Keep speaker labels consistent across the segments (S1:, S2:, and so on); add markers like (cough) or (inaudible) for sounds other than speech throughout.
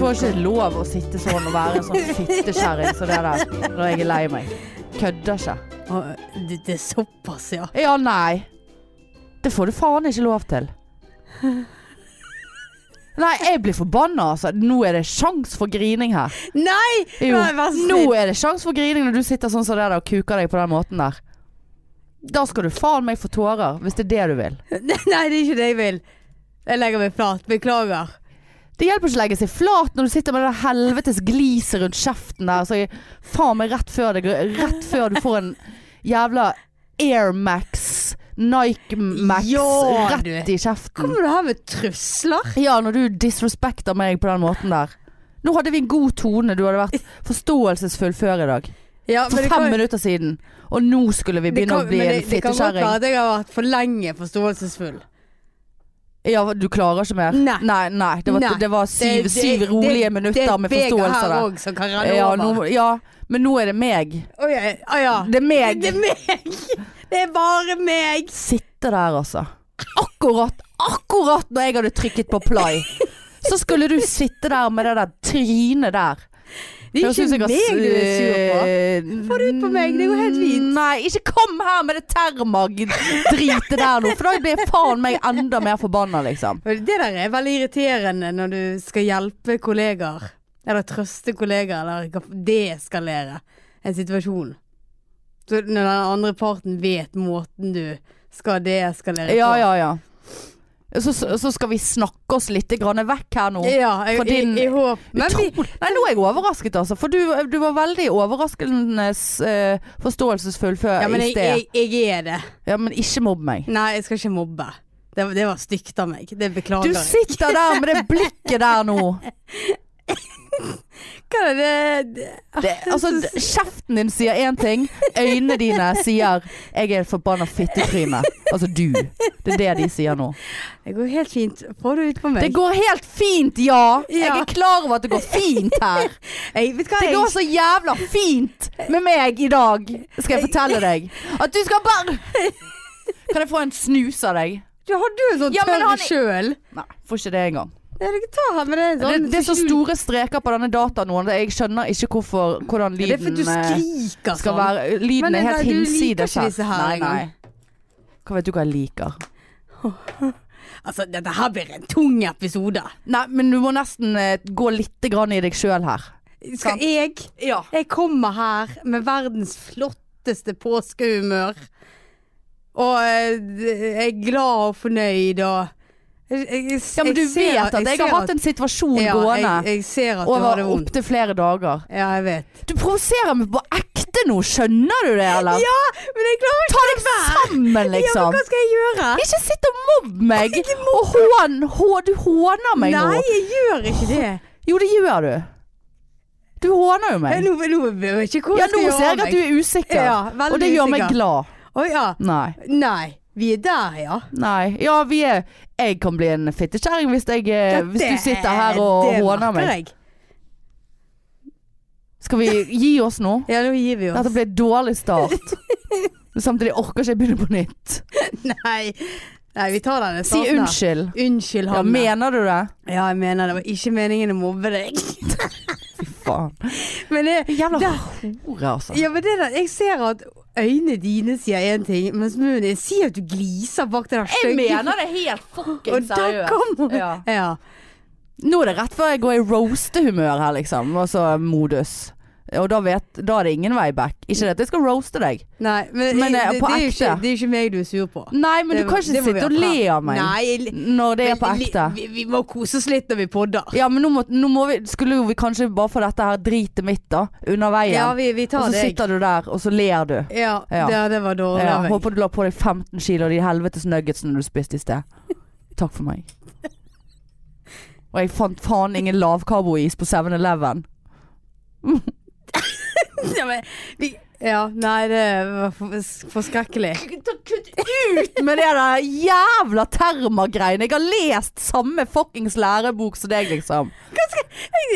S1: får ikke lov å sitte sånn og være en sånn fittekjerring som det der når jeg er lei meg. Kødder ikke.
S2: Å, det, det er såpass, ja.
S1: Ja, nei. Det får du faen ikke lov til. Nei, jeg blir forbanna, altså. Nå er det sjans for grining her.
S2: Nei!
S1: Jo,
S2: Nei, vær så
S1: nå
S2: snill.
S1: er det sjans for grining når du sitter sånn som det der og kuker deg på den måten der. Da skal du faen meg få tårer, hvis det er det du vil.
S2: (laughs) Nei, det er ikke det jeg vil. Jeg legger meg flat. Beklager.
S1: Det hjelper ikke å legge seg flat når du sitter med det der helvetes gliset rundt kjeften der. Så jeg, faen meg rett før, det, rett før du får en jævla Air Max, Nike Max
S2: Ja, du.
S1: rett i kjeften.
S2: Kommer du her med trusler?
S1: Ja, når du disrespekter meg på den måten der. Nå hadde vi en god tone. Du hadde vært forståelsesfull før i dag.
S2: Ja,
S1: For
S2: det
S1: fem
S2: kan-
S1: minutter siden. Og nå skulle vi
S2: det
S1: begynne
S2: kan-
S1: å bli
S2: men
S1: en
S2: det- Det kan godt være
S1: fittekjerring.
S2: at jeg har vært for lenge forståelsesfull.
S1: Ja, du klarer ikke mer?
S2: Nei.
S1: nei. nei. Det, var,
S2: Nei.
S1: det var syv,
S2: Det-
S1: syv
S2: det-
S1: rolige
S2: det-
S1: minutter med forståelse
S2: Det er Vegard her
S1: der.
S2: òg som kan renne
S1: Ja,
S2: over.
S1: nå- ja, men nå er det meg.
S2: Å ja, å ja.
S1: Det er meg.
S2: Det er meg! Det er bare meg!
S1: Sitte der, altså. Akkurat, akkurat når jeg hadde trykket på play, så skulle du sitte der med det der trynet der.
S2: Det er ikke meg du er sur
S1: eh,
S2: på.
S1: Få
S2: det ut på meg, det går helt fint.
S1: Mm, Nei, ikke kom her med det termag-dritet der nå, for da blir jeg faen meg enda mer forbanna, liksom.
S2: Og Det der er veldig irriterende når du skal hjelpe kollegaer. Eller trøste kollegaer, eller hva- deeskalere en situasjon. Så når den andre parten vet måten du skal deeskalere
S1: Ja,
S2: på.
S1: ja, ja. Så, så så skal vi snakke oss litt grann vekk her nå.
S2: Ja, jeg,
S1: For din-
S2: i, i håp. Men vi,
S1: Utrolig. Nei, nå er jeg overrasket, altså. For du, du var veldig overraskende eh, forståelsesfull før
S2: ja, men
S1: i
S2: jeg,
S1: sted.
S2: jeg, jeg er det.
S1: Ja, men ikke mobb meg.
S2: Nei, jeg skal ikke mobbe. Det, var- det var stygt av meg. Det
S1: Du
S2: beklager jeg.
S1: sitter der med det blikket der nå.
S2: (laughs) Hva er det? det?
S1: Det, altså, d- kjeften din sier én ting, øynene dine sier 'jeg er et forbanna fittetryne'. Altså du. Det er det de sier nå.
S2: Det går helt fint. Få det ut på meg.
S1: Det går helt fint, ja. Jeg
S2: Ja.
S1: er klar over at det går fint her.
S2: jeg, vet du hva,
S1: Det går så jævla fint med meg i dag, skal jeg fortelle deg. At du skal bare Kan jeg få en snus av deg?
S2: Du hadde jo en sånn
S1: Ja, men
S2: tørr
S1: han er-
S2: sjøl.
S1: Nei, får ikke det engang.
S2: Ja, du kan ta her med det.
S1: Det,
S2: Sånn,
S1: det er så
S2: skjul-
S1: store streker på denne dataen nå at jeg skjønner ikke hvorfor, hvordan
S2: Ja,
S1: lyden
S2: Det er fordi du
S1: eh,
S2: skriker
S1: skal
S2: sånn.
S1: være Lyden
S2: Men
S1: er
S2: nei,
S1: helt
S2: du liker
S1: hinsides
S2: ikke disse her engang.
S1: Hva vet du hva jeg liker?
S2: Altså, dette her blir en tung episode.
S1: Nei, men du må nesten eh, gå litt grann i deg sjøl her. Sant.
S2: Skal jeg
S1: Ja.
S2: Jeg kommer her med verdens flotteste påskehumør. Og eh, jeg er glad og fornøyd og jeg, jeg,
S1: men du
S2: ser-
S1: vet at jeg, har
S2: ser
S1: hatt en situasjon
S2: ja,
S1: gående
S2: Jeg, jeg ser at du har
S1: over
S2: det vondt.
S1: opptil flere dager.
S2: Ja, jeg vet.
S1: Du provoserer meg på ekte nå, skjønner du det, eller?
S2: Ja, men jeg klarer
S1: Ta deg sammen,
S2: ikke Ja, men
S1: liksom.
S2: hva skal jeg gjøre?
S1: Ikke sitt og mobb meg! Og hån, hå- du håner meg
S2: Nei,
S1: nå.
S2: jeg gjør ikke det.
S1: Jo, det gjør du. Du håner jo
S2: Jeg,
S1: meg.
S2: nå, nå vet jeg ikke hvor
S1: Ja,
S2: jeg
S1: nå
S2: skal gjøre
S1: ser jeg at du er usikker.
S2: Ja, veldig
S1: og det gjør meg
S2: usikker.
S1: glad.
S2: Å ja.
S1: Nei.
S2: Nei. Vi er der, ja.
S1: Nei. Ja, vi er Jeg kan bli en fittekjerring hvis, jeg, eh, hvis du sitter her og håner meg.
S2: Jeg.
S1: Skal vi gi oss nå?
S2: Ja, nå gir
S1: (laughs)
S2: vi oss.
S1: Dette ble en dårlig
S2: (laughs)
S1: start. Men Samtidig orker ikke jeg begynne på nytt.
S2: Nei. Nei, vi tar den i
S1: Si
S2: starten her.
S1: unnskyld.
S2: Unnskyld,
S1: Ja,
S2: Hanne. Ja,
S1: mener du det?
S2: jeg mener det var ikke meningen å mobbe deg. (laughs)
S1: Faen.
S2: Men det,
S1: Jævla
S2: det,
S1: hore, altså.
S2: ja, men det der, jeg ser at øynene dine sier én ting, mens munnen din sier at du gliser bak det der
S1: Jeg
S2: stygge-
S1: mener det helt fucking
S2: (laughs) Og da kommer
S1: seriøst. Ja.
S2: Ja.
S1: Nå er det rett før jeg går i roastehumør her, liksom. Altså modus. Og da, vet, da er det ingen vei back. Ikke det at jeg skal roaste deg.
S2: Nei, men,
S1: Men, eh,
S2: det, det,
S1: på
S2: er jo ikke,
S1: ekte.
S2: det er jo ikke meg du er sur på.
S1: Nei, men
S2: Det-
S1: du kan ikke
S2: det må vi
S1: sitte
S2: ha
S1: og le
S2: frem.
S1: av meg
S2: Nei, jeg-
S1: når det er på
S2: li-
S1: ekte.
S2: Vi, vi må kose oss litt når vi podder.
S1: Ja, men nå må, nå må vi Skulle jo vi kanskje bare få dette her dritet mitt, da. Under veien.
S2: Ja, vi, vi
S1: og
S2: tar
S1: så
S2: deg.
S1: sitter du der, og så ler du.
S2: Ja,
S1: Ja.
S2: Det, det var dårlig
S1: Ja,
S2: av meg.
S1: håper du la på deg 15 kilo av de helvetes nuggetsene du spiste i sted. Takk for meg. Og jeg fant faen ingen lavkarbois på 7-Eleven.
S2: Ja, men, vi, ja, nei, det var for- forskrekkelig.
S1: Kutt
S2: (laughs)
S1: ut med det der jævla termagreiene. Jeg har lest samme fuckings lærebok som deg, liksom.
S2: Nå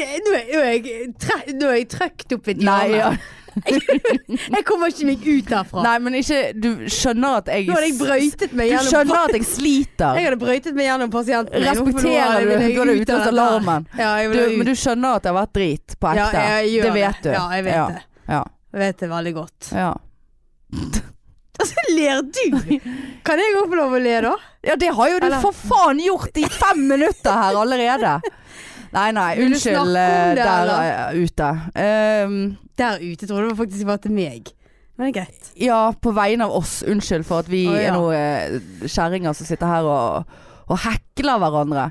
S2: er, nå er jeg tre, nå er jeg trøkt opp i et
S1: Nei,
S2: hjørne.
S1: ja.
S2: (laughs) Jeg kommer ikke meg ut derfra.
S1: Nei, men ikke Du skjønner at jeg
S2: Nå hadde jeg brøytet meg
S1: Du
S2: gjennom
S1: skjønter at jeg sliter.
S2: Jeg hadde brøytet meg gjennom pasienten. min. Hvorfor nå
S1: Respekterer
S2: hadde jeg-
S1: du
S2: ville jeg
S1: Du hadde
S2: ut av
S1: utløst
S2: dette her?
S1: alarmen.
S2: Ja, jeg
S1: Du,
S2: ville ut.
S1: men du skjønner at det har vært drit på
S2: Ja,
S1: ekte?
S2: jeg gjør
S1: det vet du.
S2: Ja, jeg vet
S1: ja.
S2: det.
S1: Ja.
S2: Jeg vet det veldig godt. (laughs)
S1: Ja.
S2: Så ler du! Kan jeg òg få lov å le, da?
S1: ja, det har jo du
S2: Eller-
S1: for faen gjort i fem minutter her allerede. Nei, nei,
S2: Vil du snakke om
S1: unnskyld eh,
S2: det,
S1: der
S2: eller?
S1: eh, ute. Ehm,
S2: Der ute trodde jeg faktisk var til meg. Men det er greit.
S1: ja, på vegne av oss, unnskyld for at vi
S2: Å, ja.
S1: er noen eh, kjerringer som sitter her og, og hekler hverandre.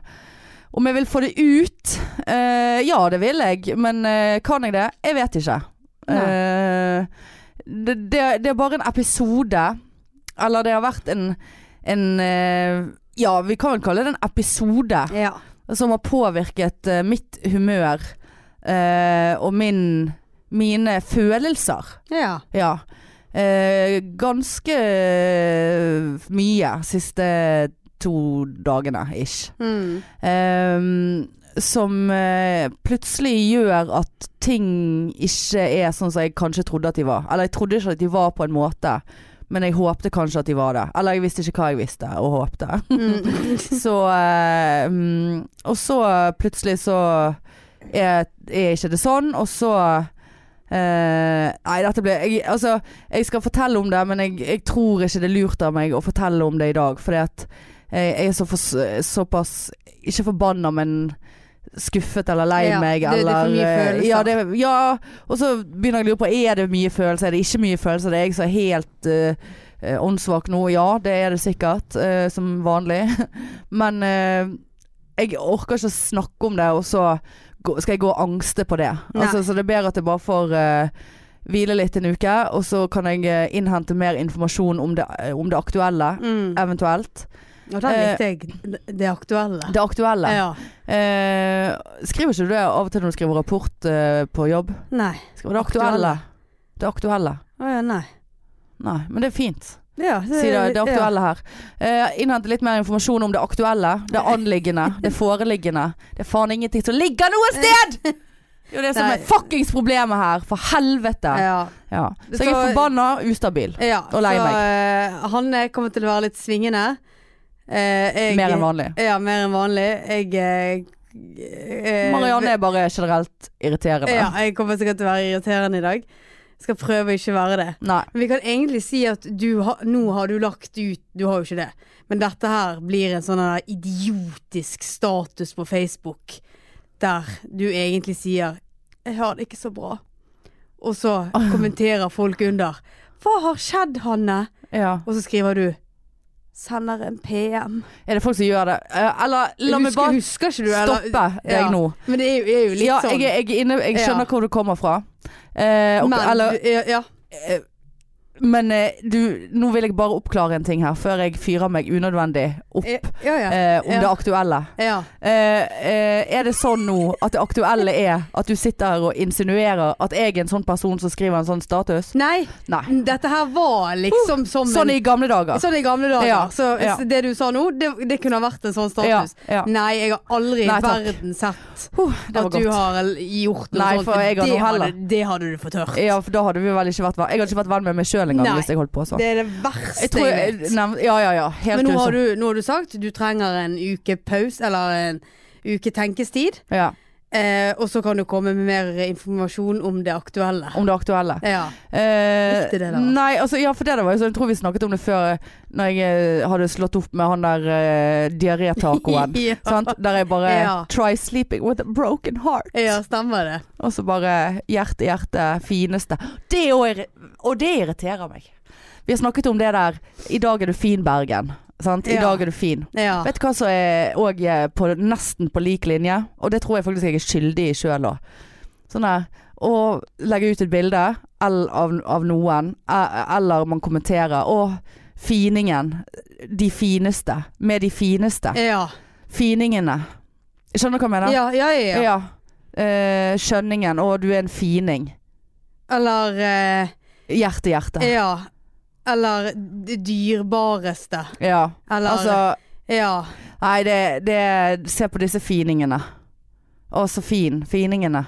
S1: Om jeg vil få det ut? Eh, ja, det vil jeg, men eh, kan jeg det? Jeg vet ikke.
S2: Nei.
S1: Eh, det, det, det er bare en episode, eller det har vært en, en eh, Ja, vi kan vel kalle det en episode
S2: Ja.
S1: som har påvirket eh, mitt humør eh, og min, mine følelser.
S2: ja.
S1: Ja. Eh, ganske eh, mye siste to dagene, ish.
S2: Mm.
S1: Eh, som eh, plutselig gjør at ting ikke er sånn som jeg kanskje trodde at de var. Eller jeg trodde ikke at de var på en måte, men jeg håpte kanskje at de var det. Eller jeg visste ikke hva jeg visste og håpte.
S2: Mm.
S1: (laughs) Så eh, mm, Og så plutselig så er, er ikke det sånn, og så eh, Nei, dette ble jeg, Altså, jeg skal fortelle om det, men jeg, jeg tror ikke det er lurt av meg å fortelle om det i dag. Fordi at jeg, jeg er så fors- såpass Ikke forbanna, men skuffet eller lei
S2: Ja,
S1: meg.
S2: det- det er
S1: eller,
S2: for mye
S1: eh,
S2: følelser.
S1: Ja, det, ja, og så begynner jeg å lure på Er det mye følelser, er det ikke mye følelser. Det er jeg som er helt eh, eh, åndssvak nå. Ja, det er det sikkert, eh, som vanlig. (laughs) Men eh, jeg orker ikke å snakke om det, og så gå- skal jeg gå og angste på det.
S2: Nei.
S1: Altså, så det er bedre at jeg bare får eh, hvile litt en uke, og så kan jeg eh, innhente mer informasjon om det, eh, om det aktuelle,
S2: (laughs) Mm.
S1: eventuelt.
S2: Og den likte jeg. Det aktuelle.
S1: Eh, Det aktuelle.
S2: Ja.
S1: Eh, skriver ikke du det av og til når du skriver rapport eh, på jobb?
S2: Nei.
S1: Skriver det aktuelle. Det aktuelle.
S2: Å ja, nei.
S1: Nei, men det er fint.
S2: Ja, det,
S1: Si det, det aktuelle her. Eh, innhente litt mer informasjon om det aktuelle. Det anliggende. Det foreliggende. Det er faen ingenting som ligger noe sted! Det er jo det som
S2: Nei.
S1: er fuckings problemet her. For helvete.
S2: Ja. ja.
S1: Ja. Så jeg er
S2: Så-
S1: forbanna ustabil.
S2: Ja,
S1: Og lei
S2: så
S1: meg.
S2: eh, han eh, kommer til å være litt svingende. Eh, jeg-
S1: Mer enn vanlig.
S2: Ja, mer enn vanlig. Jeg eh, eh,
S1: Marianne er bare generelt irriterende.
S2: Ja, jeg kommer sikkert til å være irriterende i dag. Skal prøve å ikke være det.
S1: Nei.
S2: Men vi kan egentlig si at du har- nå har du lagt ut Du har jo ikke det. Men dette her blir en sånn her idiotisk status på Facebook der du egentlig sier 'Jeg har det ikke så bra', og (laughs) så kommenterer folk under 'Hva har skjedd, Hanne?'
S1: Ja.
S2: Og så skriver du 'Sender en PM'.
S1: Er det folk som gjør det? Eh, eller la meg
S2: husker,
S1: bare
S2: husker ikke du eller-
S1: stoppe deg
S2: Ja.
S1: nå.
S2: Men det er jo, er jo litt
S1: Ja,
S2: sånn.
S1: jeg, er- jeg, er inne, jeg skjønner
S2: Ja.
S1: hvor du kommer fra. Eh, og,
S2: men,
S1: eller,
S2: du- ja, ja.
S1: men eh, du, nå vil jeg bare oppklare en ting her, før jeg fyrer meg unødvendig opp
S2: Ja, ja, ja.
S1: eh, om
S2: Ja.
S1: det aktuelle.
S2: ja.
S1: Eh, eh, er det sånn nå at det aktuelle er at du sitter her og insinuerer at jeg er en sånn person som skriver en sånn status?
S2: Nei,
S1: Nei.
S2: dette her var liksom som
S1: Sånn i gamle dager.
S2: sånn i gamle dager.
S1: Ja,
S2: Så
S1: ja.
S2: så det du sa nå, det, det kunne ha vært en sånn status.
S1: Ja, ja.
S2: Nei, jeg har aldri i
S1: Nei, takk.
S2: verden sett
S1: Huh, det
S2: at
S1: var
S2: du
S1: godt.
S2: har gjort noe
S1: Nei,
S2: sånt.
S1: for jeg har
S2: det,
S1: noe heller.
S2: hadde, det hadde du fått hørt.
S1: Ja, for da hadde vi vel ikke vært venn. Jeg hadde ikke vært venn med meg sjøl engang
S2: Nei.
S1: hvis jeg holdt på sånn.
S2: Det er det verste
S1: Jeg
S2: jeg,
S1: tror jeg,
S2: vet.
S1: nevn- ja, ja, ja. Helt
S2: Men nå
S1: grusomt.
S2: har, du, nå har du sagt du trenger en uke pause, eller en uke tenkestid.
S1: Ja,
S2: Eh, og så kan du komme med mer informasjon om det aktuelle.
S1: om det aktuelle.
S2: Ja.
S1: Eh,
S2: Likte det da.
S1: Nei, altså, ja, for det, det var jo sånn Jeg tror vi snakket om det før eh, Når jeg eh, hadde slått opp med han der eh,
S2: (laughs)
S1: diaré-tacoen.
S2: ja.
S1: (laughs) sant? Der jeg bare
S2: Ja.
S1: Try sleeping with a broken heart.
S2: ja, stemmer det.
S1: Og så bare hjerte, hjerte, fineste. Det er også irri- og det irriterer meg. Vi har snakket om det der. I dag er du fin, Bergen. Sant? I
S2: Ja.
S1: dag er du fin.
S2: Ja.
S1: Vet du hva som er òg på, nesten på lik linje? Og det tror jeg faktisk jeg er skyldig i sjøl òg. Sånn der Å legge ut et bilde el- av, av noen, e- eller man kommenterer Å, finingen. De fineste. Med de fineste.
S2: Ja.
S1: Finingene. Skjønner du hva jeg mener?
S2: Ja, ja, ja. ja.
S1: Ja. Eh, skjønningen. Å, du er en fining.
S2: Eller eh,
S1: Hjerte, hjerte.
S2: Ja. Eller det dyrebareste.
S1: Ja.
S2: Eller
S1: Altså
S2: Ja.
S1: Nei, det, det Se på disse finingene. Å, så fin. Finingene.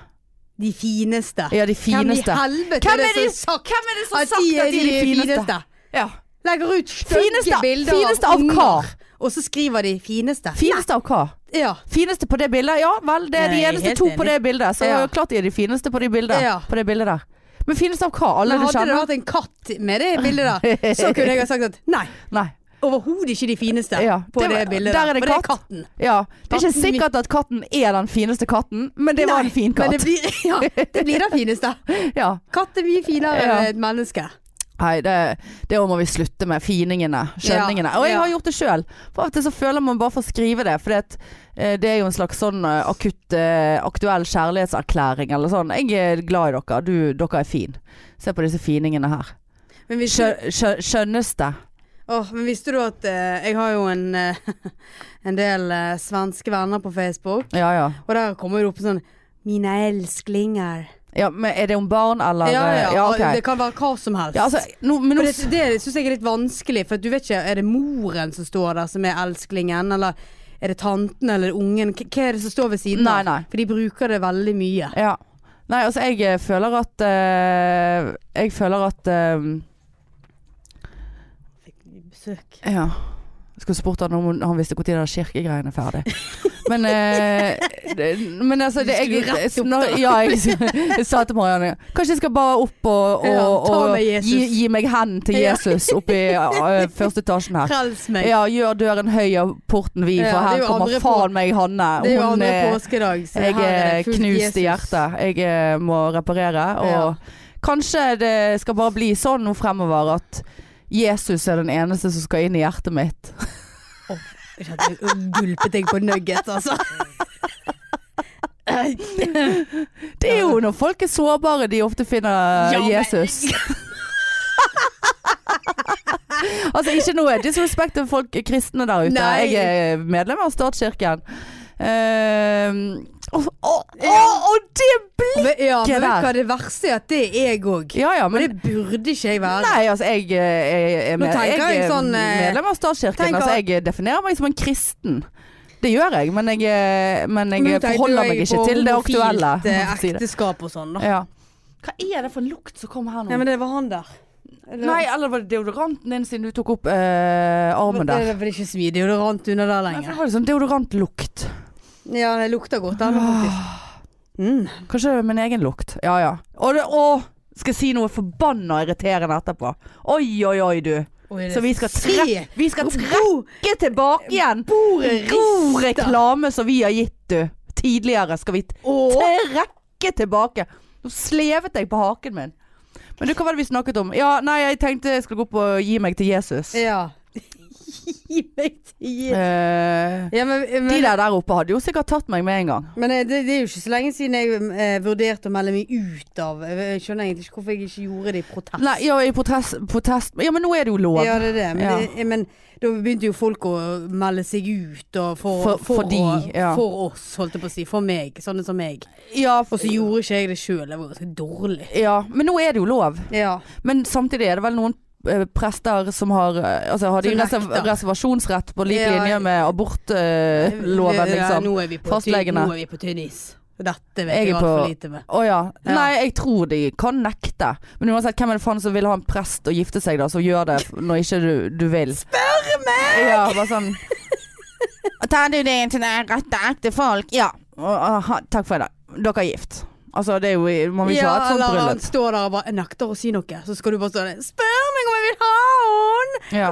S2: de fineste.
S1: Ja, de fineste.
S2: Hvem i helvete
S1: Hvem er
S2: det
S1: de-
S2: som har sagt
S1: Hvem er det som har
S2: at
S1: sagt
S2: de er de fineste?
S1: Ja.
S2: Legger ut stygge
S1: Fineste-
S2: bilder
S1: fineste
S2: av
S1: av
S2: unger,
S1: hva?
S2: og så skriver de 'fineste'.
S1: Fineste av hva?
S2: Nei, ja.
S1: Fineste på det bildet? Ja vel, det er
S2: Nei,
S1: de eneste
S2: helt
S1: to på
S2: enig.
S1: det bildet. Så
S2: Ja.
S1: klart de er de fineste på, de bildet,
S2: Ja.
S1: på det bildet der. Men fineste av hva? Alle
S2: Men
S1: du
S2: hadde det
S1: kjenner?
S2: vært en katt med det
S1: (laughs)
S2: bildet der, så kunne jeg ha sagt at nei,
S1: Nei.
S2: overhodet ikke de fineste
S1: Ja,
S2: på
S1: det
S2: det,
S1: var-
S2: bildet
S1: der er det
S2: for det er
S1: katt.
S2: katten.
S1: Ja. Det er
S2: Katten
S1: ikke sikkert at katten er den fineste katten, men det var
S2: Nei,
S1: en fin
S2: Men
S1: katt.
S2: det blir, (laughs) ja, det blir den fineste.
S1: Ja.
S2: Katt er mye finere
S1: Ja.
S2: enn et menneske.
S1: Nei, det, det må vi slutte med. Finingene. Skjønningene.
S2: Ja,
S1: Og jeg
S2: ja.
S1: har gjort det sjøl. For av og til så føler man bare for å skrive det. For det er jo en slags sånn eh, akutt eh, aktuell kjærlighetserklæring eller sånn. Jeg er glad i dere. Du, dere er fin. Se på disse finingene her.
S2: Men visste,
S1: Skjø- skjø- Skjønneste.
S2: Åh, men visste du at eh, jeg har jo en, eh, (laughs) en del eh, svenske venner på Facebook,
S1: Ja ja.
S2: og der kommer det opp sånn Mine elsklinger.
S1: ja. Men er det om barn eller eh,
S2: Ja, ja,
S1: ja ok.
S2: Det kan være hva som helst.
S1: Ja, altså, nå, men
S2: For
S1: nå
S2: det det syns jeg er litt vanskelig, for du vet ikke Er det moren som står der som er elsklingen, eller er det tanten eller ungen? K hva er det som står ved siden
S1: Nei,
S2: av?
S1: nei.
S2: For de bruker det veldig mye.
S1: Ja. Nei, altså jeg eh, føler at eh, Jeg føler at eh,
S2: Fikk besøk.
S1: Ja. Jeg skulle spurt han om hun- han visste når de der kirkegreiene er ferdig. Men, eh, det- men altså det, jeg,
S2: Du skulle rett opp
S1: nå-
S2: der.
S1: Ja, jeg, jeg sa til Marianne Kanskje jeg skal bare opp og, og,
S2: Ja, ta
S1: og
S2: med Jesus.
S1: gi, gi meg hen til
S2: Ja.
S1: Jesus oppe i eh, første etasjen her.
S2: Frels meg.
S1: Ja, gjør døren høy og porten vid, for
S2: Ja, det er
S1: her
S2: jo
S1: kommer
S2: andre
S1: faen meg Hanne.
S2: Det er jo
S1: Hun
S2: andre
S1: er-
S2: påskedag, så
S1: jeg
S2: her er
S1: er
S2: det fullt
S1: knust i
S2: Jesus.
S1: hjertet. Jeg eh, må reparere. Og
S2: Ja.
S1: kanskje det skal bare bli sånn nå fremover at Jesus er den eneste som skal inn i hjertet mitt.
S2: Jeg kjente jeg gulpet jeg på nuggets, altså.
S1: Det er jo når folk er sårbare de ofte finner
S2: Ja, men-
S1: Jesus.
S2: (laughs)
S1: altså ikke noe disrespekt til folk kristne der ute.
S2: Nei.
S1: Jeg er medlem av statskirken. Ehm, og, og, og, og det blir
S2: Men- Ja, men vet du
S1: der.
S2: hva det verste er? At det er jeg òg.
S1: Ja ja,
S2: Og
S1: men
S2: det burde ikke jeg være.
S1: Nei, altså jeg, eh, jeg, er med,
S2: Nå tenker
S1: jeg,
S2: jeg
S1: er
S2: sånn, eh,
S1: medlem av statskirken.
S2: tenker-
S1: Altså, jeg definerer meg som en kristen. Det gjør jeg, men jeg, eh, men jeg
S2: Nå tenkte
S1: forholder
S2: jeg
S1: meg ikke
S2: på
S1: til det aktuelle.
S2: homofilt, eh,
S1: for å si det.
S2: Ekteskap og sånn, da.
S1: Ja. Hva er det for en lukt som kommer her
S2: Nei, men det var han der.
S1: Nei, eller var det deodoranten din siden du tok opp eh, armen
S2: Det
S1: der?
S2: er vel ikke så mye deodorant under der
S1: Nei, for det
S2: lenger.
S1: var litt sånn deodorantlukt.
S2: Ja, det lukter godt den faktisk. Mm.
S1: Kanskje det er min egen lukt. Ja ja. Og det, å, skal jeg si noe forbanna irriterende etterpå. Oi, oi, oi, du. Så vi skal, tre vi skal trekke tilbake igjen
S2: Bordet
S1: God
S2: rister.
S1: reklame som vi har gitt du tidligere, skal vi
S2: Åh.
S1: trekke tilbake. Nå slevet jeg på haken min. Men du, hva var det vi snakket om? Ja, nei, jeg tenkte jeg skulle gå opp og gi meg til Jesus.
S2: Ja. (laughs) Gi meg tid.
S1: Eh,
S2: Ja, men, men,
S1: de der der oppe hadde jo sikkert tatt meg med en gang.
S2: men eh, det, det er jo ikke så lenge siden jeg eh, vurderte å melde meg ut av eh, Jeg skjønner egentlig ikke hvorfor jeg ikke gjorde det i protest.
S1: Nei, ja, i protest, protest Ja, men nå er det jo lov.
S2: Ja, det er det. Men,
S1: Ja.
S2: det, men da begynte jo folk å melde seg ut og for,
S1: For- for
S2: å-
S1: de, ja.
S2: for oss, holdt jeg på å si. For meg. Sånne som meg.
S1: Ja, for,
S2: Og så gjorde ikke jeg det sjøl. Det var ganske dårlig.
S1: ja, men nå er det jo lov.
S2: Ja.
S1: Men samtidig er det vel noen eh, prester som har eh, Altså har de
S2: Som nekter.
S1: reserv reservasjonsrett på lik
S2: Ja,
S1: linje med abortloven,
S2: Ja,
S1: liksom.
S2: Nå er vi på, tynn,
S1: Fastlegene.
S2: nå er vi på tynn is. Dette vet
S1: Jeg
S2: jeg,
S1: er på-
S2: altfor lite med.
S1: Å ja.
S2: Ja.
S1: Nei, jeg tror de kan nekte. Men uansett, hvem er det faen som vil ha en prest og gifte seg, da? Som gjør (laughs) det når ikke du, du vil. Spør meg! Ja, bare sånn (laughs) Tar du deg til det rette ekte folk? Ja. Aha, takk for i dag. Dere er gift. Altså, det er jo Man vil ikke ha et sånt
S2: eller han
S1: bryllup.
S2: står der og bare nekter å si noe, så skal du bare stå der Spør meg om jeg vil ha henne!
S1: Ja.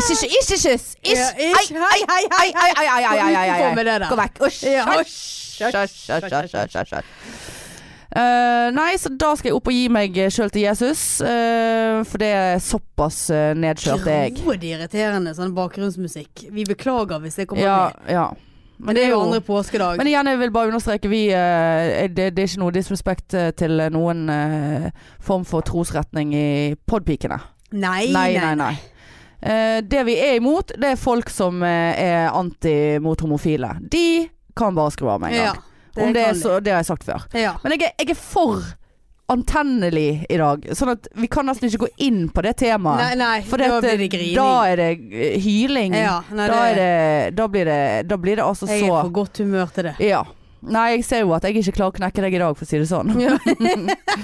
S1: Ikke kyss! Ikke kyss!
S2: Ja,
S1: Ikke-
S2: ikke-
S1: Ai, ai, ai, ai, ai, ai, ai, ai, ai,
S2: Utenfor
S1: ai.
S2: med det der.
S1: Gå vekk. Usj.
S2: Ja,
S1: Hysj.
S2: hysj,
S1: Hysj, hysj, hysj, hysj, hysj, hysj. Eh, nei, så da skal jeg opp og gi meg sjøl til Jesus. eh, for det er såpass eh, nedkjørt er jeg.
S2: Grådig irriterende sånn bakgrunnsmusikk. Vi beklager hvis det kommer
S1: Ja,
S2: med.
S1: ja.
S2: Men det er jo andre påskedag.
S1: Men igjen, jeg vil bare understreke, vi, eh, det, det er ikke noe disrespekt eh, til noen eh, form for trosretning i podpikene.
S2: nei,
S1: Nei, nei, nei. Eh, det vi er imot, det er folk som eh, er anti mot homofile. De kan bare skru av med en
S2: Ja,
S1: gang. Om det,
S2: kan
S1: er så, det har jeg sagt før.
S2: de. ja.
S1: Men jeg er, jeg er for antennelig i dag. Sånn at vi kan nesten ikke gå inn på det temaet.
S2: Nei, nei,
S1: for
S2: da
S1: at,
S2: blir det
S1: Da
S2: grining.
S1: er det eh, hyling.
S2: Ja, nei,
S1: da,
S2: det-
S1: er det, da, blir det, da blir det altså
S2: Jeg er
S1: så
S2: på godt humør til det.
S1: Ja. Nei, jeg ser jo at jeg ikke klarer å knekke deg i dag, for å si det sånn.
S2: Ja.
S1: (laughs)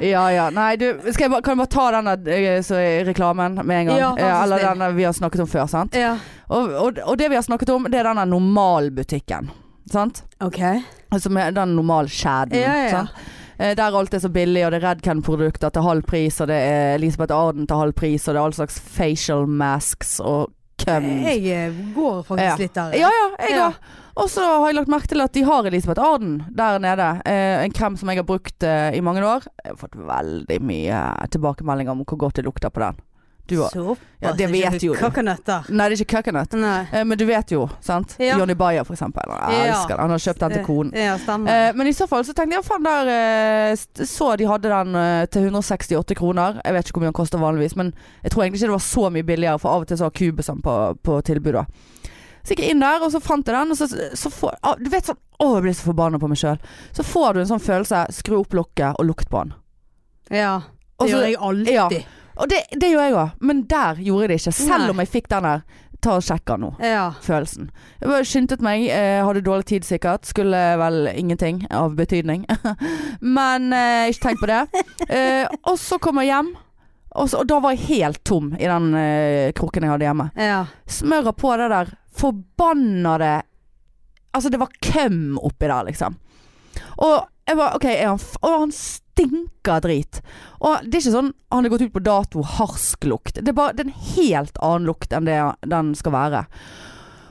S1: ja ja. Nei, du, skal jeg bare, kan jeg bare ta denne eh, så, reklamen med en gang?
S2: Ja, vær så
S1: Eh, Eller
S2: snill.
S1: denne vi har snakket om før, sant?
S2: Ja.
S1: Og, og, og det vi har snakket om, det er denne normalbutikken. Sant?
S2: OK.
S1: Som er den normalkjeden.
S2: Ja, ja, ja.
S1: sant? Eh, Der alt er så billig, og det er Redken-produkter til halv pris, og det er Elisabeth Arden til halv pris, og det er all slags facial masks og cum.
S2: Jeg eh, går faktisk
S1: Um, Ja.
S2: litt der.
S1: Ja, ja, jeg
S2: Ja.
S1: òg. Og så har jeg lagt merke til at de har Elisabeth Arden der nede. Eh, en krem som jeg har brukt eh, i mange år. Jeg har fått veldig mye tilbakemeldinger om hvor godt det lukter på den. Du har
S2: Såpass.
S1: Ja, det
S2: ikke
S1: vet
S2: du
S1: jo du.
S2: Kakanøtter.
S1: Nei, det er ikke coconut.
S2: Nei.
S1: Eh, men du vet jo, sant?
S2: Ja.
S1: Johnny Bayer, for eksempel. Jeg
S2: Ja. Eh,
S1: elsker den. Han har kjøpt den til konen.
S2: Ja, stemmer.
S1: Eh, men i så fall så tenkte jeg faen der eh, st- Så de hadde den eh, til 168 kroner. Jeg vet ikke hvor mye den koster vanligvis, men jeg tror egentlig ikke det var så mye billigere, for av og til så har Cubesum på, på tilbud, da. Så gikk jeg inn der, og så fant jeg den, og så, så får ah, Du vet sånn Å, jeg blir så forbanna på meg sjøl. Så får du en sånn følelse Skru opp lokket og lukt på den.
S2: ja. Det
S1: og så-
S2: gjør jeg alltid.
S1: ja. Og det, det gjør jeg òg, men der gjorde jeg det ikke. Selv
S2: Nei.
S1: om jeg fikk den der ta og sjekk den nå.
S2: Ja.
S1: Følelsen. Jeg bare skyndte meg, eh, hadde dårlig tid sikkert. Skulle vel ingenting av betydning. (laughs) Men eh, ikke tenk på det. Eh, og så kom jeg hjem, og, så, og da var jeg helt tom i den eh, krukken jeg hadde hjemme.
S2: Ja.
S1: Smøret på det der forbannede Altså, det var køm oppi der, liksom. Og jeg var OK, er han f Og han stinker drit. Og det er ikke sånn han er gått ut på dato, harsk lukt. Det er bare det er en helt annen lukt enn det den skal være.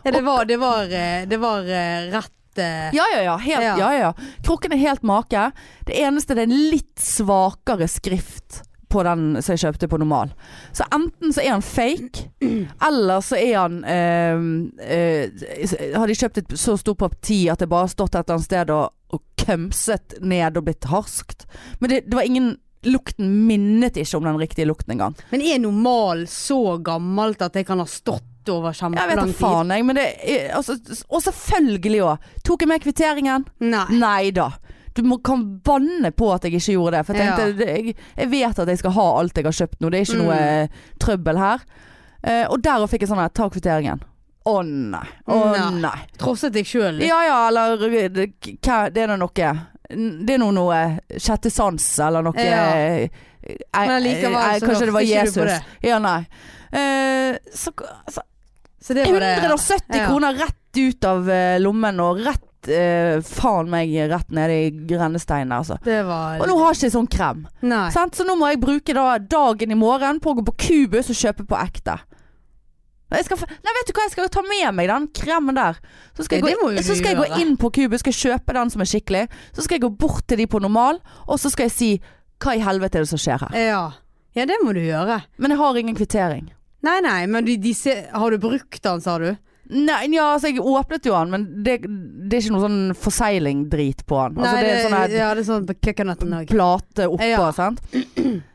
S2: ja det var, det var, eh, det var eh, rett eh,
S1: Ja, ja, ja. Helt,
S2: Ja.
S1: ja. Ja, ja. Krukken er helt make. Det eneste det er en litt svakere skrift på den som jeg kjøpte på normal. Så enten så er han fake, eller så er han eh, eh, Har de kjøpt et så stort parti at det bare har stått et eller annet sted og, og kømset ned og blitt harskt. Men det, det var ingen Lukten minnet ikke om den riktige lukten engang.
S2: Men er normal så gammelt at det kan ha stått over
S1: Jeg vet da
S2: kjempelang tid?
S1: faen, jeg. Men det, er- altså, og selvfølgelig òg. Tok jeg med kvitteringen?
S2: Nei.
S1: Nei da. Du må, kan banne på at jeg ikke gjorde det. For jeg,
S2: Ja.
S1: tenkte, det- jeg, jeg vet at jeg skal ha alt jeg har kjøpt nå. Det er ikke
S2: Mm.
S1: noe trøbbel her. Eh, og derav fikk jeg sånn her Ta kvitteringen. Å nei. Å
S2: Nei.
S1: nei.
S2: Trosset deg sjøl litt?
S1: Ja ja, eller det, hva, det er nå noe Det er nå noe eh, sjette sans eller noe
S2: Ja.
S1: eh, eh,
S2: Men likevel
S1: eh,
S2: så
S1: Kanskje det var
S2: hørte ikke du
S1: Jesus.
S2: på det.
S1: Ja, nei. Eh, så, så
S2: Så det var det.
S1: 170
S2: Ja.
S1: kroner rett ut av eh, lommen og rett eh, faen meg rett nede i grennesteinen, altså.
S2: Det var
S1: Og nå har ikke jeg sånn krem.
S2: Nei.
S1: Sant? Så nå må jeg bruke da dagen i morgen på å gå på Cubus og kjøpe på ekte. Nei, Jeg skal, f- nei, vet du hva, jeg skal ta med meg den kremen der. Så skal,
S2: Ja,
S1: jeg
S2: det må
S1: gå,
S2: jo
S1: så
S2: du
S1: skal jeg gå
S2: gjøre.
S1: inn på Cubus, skal jeg kjøpe den som er skikkelig. Så skal jeg gå bort til de på normal, og så skal jeg si hva i helvete er det som skjer her.
S2: Ja. ja, det må du gjøre.
S1: Men jeg har ingen kvittering.
S2: Nei, nei, men de, de se, har du brukt den, sa du?
S1: Nei, ja, altså jeg åpnet jo den, men det, det er ikke noe sånn forseiling-drit på den. Altså,
S2: nei,
S1: det er sånn her
S2: ja, det er sånn på coconutten òg.
S1: plate oppå,
S2: Ja.
S1: sant.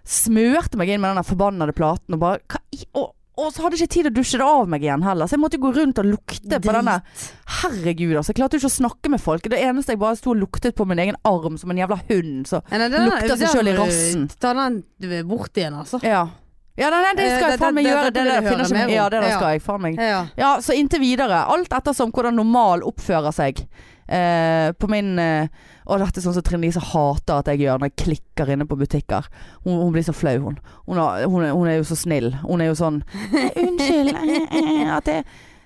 S1: Smørte meg inn med den der forbannede platen og bare hva, i- og, og så hadde jeg ikke tid til å dusje det av meg igjen heller, så jeg måtte jo gå rundt og lukte på denne. Herregud, altså. Jeg klarte jo ikke å snakke med folk. Det eneste jeg bare sto og luktet på min egen arm som en jævla hund, så Lukter seg selv i rassen.
S2: Ta den du- bort igjen, altså.
S1: Ja. Ja, nei, nei, det
S2: Eh,
S1: skal
S2: det-
S1: jeg faen meg
S2: det- det-
S1: gjøre.
S2: dette
S1: Det,
S2: vil
S1: der
S2: jeg høre
S1: finner ikke
S2: mer
S1: meg-
S2: om.
S1: Ja, det der
S2: Ja.
S1: skal jeg faen meg
S2: Ja.
S1: Ja, så inntil videre. Alt ettersom hvordan normal oppfører seg. Eh, på min eh, Og dette er sånn som Trine Lise hater at jeg gjør når jeg klikker inne på butikker. Hun, hun blir så flau, hun. Hun, har, hun, er, hun er jo så snill. Hun er jo sånn eh, 'Unnskyld eh, eh, at det,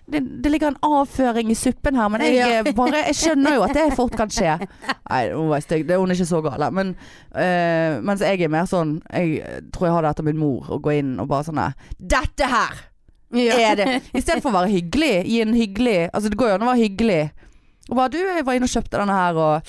S1: det, det ligger en avføring i suppen her, men jeg,
S2: Ja.
S1: eh, bare, jeg skjønner jo at det fort kan skje'. Nei, hun var stygg. Det- Hun er ikke så gal. da. Men eh, mens jeg er mer sånn Jeg tror jeg har det etter min mor, å gå inn og bare sånn her 'Dette her!'
S2: Ja.
S1: er det. I stedet for å være hyggelig, gi en hyggelig Altså det går jo an å være hyggelig. Og bare du, jeg var inne og kjøpte denne her, og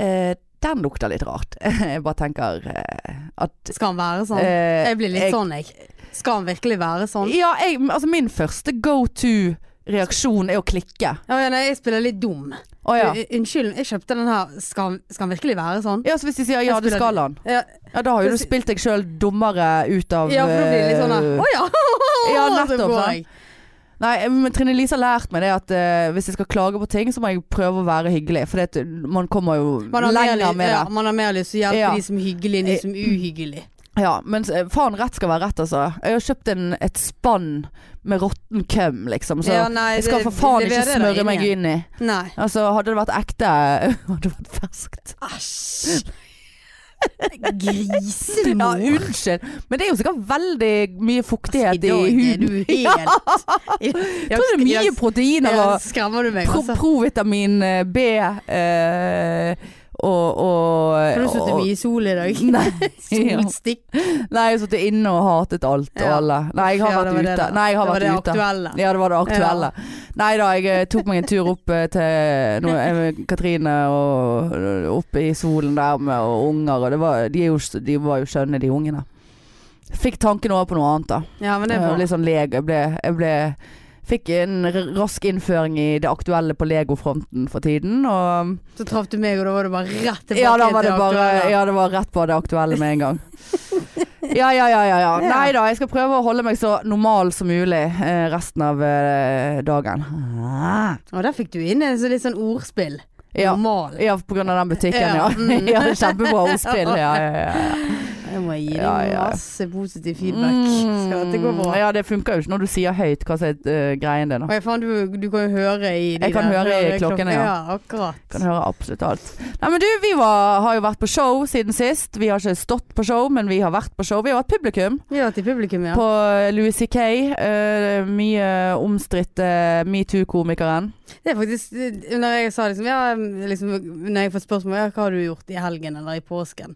S1: eh, den lukter litt rart. (laughs) jeg bare tenker eh, at
S2: (laughs) Skal han være sånn?
S1: eh,
S2: Jeg blir litt
S1: jeg-
S2: sånn, jeg. Skal han virkelig være sånn?
S1: Ja, jeg, altså min første go to reaksjon er å klikke.
S2: Å, ja, nei, jeg spiller litt dum.
S1: Å ja.
S2: U- Unnskyld, jeg kjøpte den her. Skal, han- skal han virkelig være sånn?
S1: Ja, så hvis de sier ja, det skal han.
S2: Ja,
S1: Ja, da har jo du spilt deg sjøl dummere ut av
S2: ja for da blir det litt sånn her. Å ja!
S1: eh, (laughs) Ja,
S2: Så
S1: nettopp,
S2: går
S1: sant?
S2: jeg.
S1: Nei, men Trine Lise har lært meg det at eh, hvis jeg skal klage på ting, så må jeg prøve å være hyggelig. For det, at man kommer jo
S2: Man har, mer,
S1: lenger
S2: lyst-
S1: med
S2: ja,
S1: det.
S2: man har mer lyst til å hjelpe
S1: Ja. Eh.
S2: de som er hyggelige enn de som er uhyggelige.
S1: Ja, men s- faen, rett skal være rett, altså. Jeg har kjøpt en, et spann med råtten køm, liksom. Så
S2: Ja, nei,
S1: jeg skal for
S2: det-
S1: faen
S2: det- det
S1: ikke
S2: er det der
S1: smøre meg
S2: inne.
S1: inn i.
S2: Nei.
S1: Altså, hadde det vært ekte (laughs) Hadde det vært ferskt.
S2: Æsj. Grisemor.
S1: Ja, unnskyld. Men det er jo sikkert veldig mye fuktighet i
S2: I dag er
S1: huden.
S2: du
S1: (laughs)
S2: helt
S1: Jeg tror det er mye proteiner
S2: Ja,
S1: og
S2: Skremmer du meg,
S1: pro
S2: altså?
S1: provitamin eh, B eh, og, og
S2: Har du sittet
S1: og-
S2: mye i sol i dag?
S1: Nei. Ja.
S2: (laughs) Solstikk.
S1: Nei, jeg har sittet inne og hatet alt og
S2: Ja.
S1: alle. Nei, jeg har
S2: Ja, det
S1: vært
S2: var det
S1: ute.
S2: da.
S1: Nei, jeg har
S2: det var
S1: vært
S2: det
S1: ute.
S2: aktuelle.
S1: Ja, det var det aktuelle. Nei da, jeg eh, tok meg en tur opp eh, til nå er vi- Katrine og eh, opp i solen der med og unger, og det var, de, er jo, s- de var jo skjønne, de ungene. Fikk tanken over på noe annet, da.
S2: Ja, men det er
S1: Jeg
S2: bra.
S1: ble sånn leg, jeg ble, jeg ble Fikk en r- rask innføring i det aktuelle på legofronten for tiden. Og
S2: Så traff du meg, og da var det bare rett tilbake
S1: ja, da var
S2: til
S1: det bare
S2: aktuelle.
S1: Ja, det var rett på det aktuelle med en
S2: (laughs)
S1: gang. Ja, ja, ja. ja, ja.
S2: Ja.
S1: Nei da, jeg skal prøve å holde meg så normal som mulig eh, resten av eh, dagen.
S2: Og der fikk du inn en sånn litt sånn ordspill.
S1: Ja.
S2: Normal.
S1: ja, på grunn av den butikken, ja.
S2: Mm. Ja,
S1: (laughs)
S2: mm.
S1: ja kjempebra ordspill. Ja, ja, ja.
S2: Jeg må gi deg
S1: Ja, ja. Mm.
S2: masse positiv feedback. Skal dette gå bra?
S1: Ja, det funker jo ikke når du sier høyt hva som er eh, greien din. da.
S2: Og jeg fant, du, du kan jo høre i de
S1: Jeg kan
S2: der
S1: høre i
S2: høreklokkene.
S1: klokkene, ja.
S2: ja. Akkurat.
S1: Kan høre absolutt alt. Nei, men du, vi var, har jo vært på show siden sist. Vi har ikke stått på show, men vi har vært på show. Vi har vært publikum
S2: Vi har vært i publikum, ja.
S1: på Louis C.K. eh, mye omstridte metoo-komikeren.
S2: Det er faktisk Når jeg sa liksom, ja, liksom Når jeg får spørsmål ja, hva har du gjort i helgen eller i påsken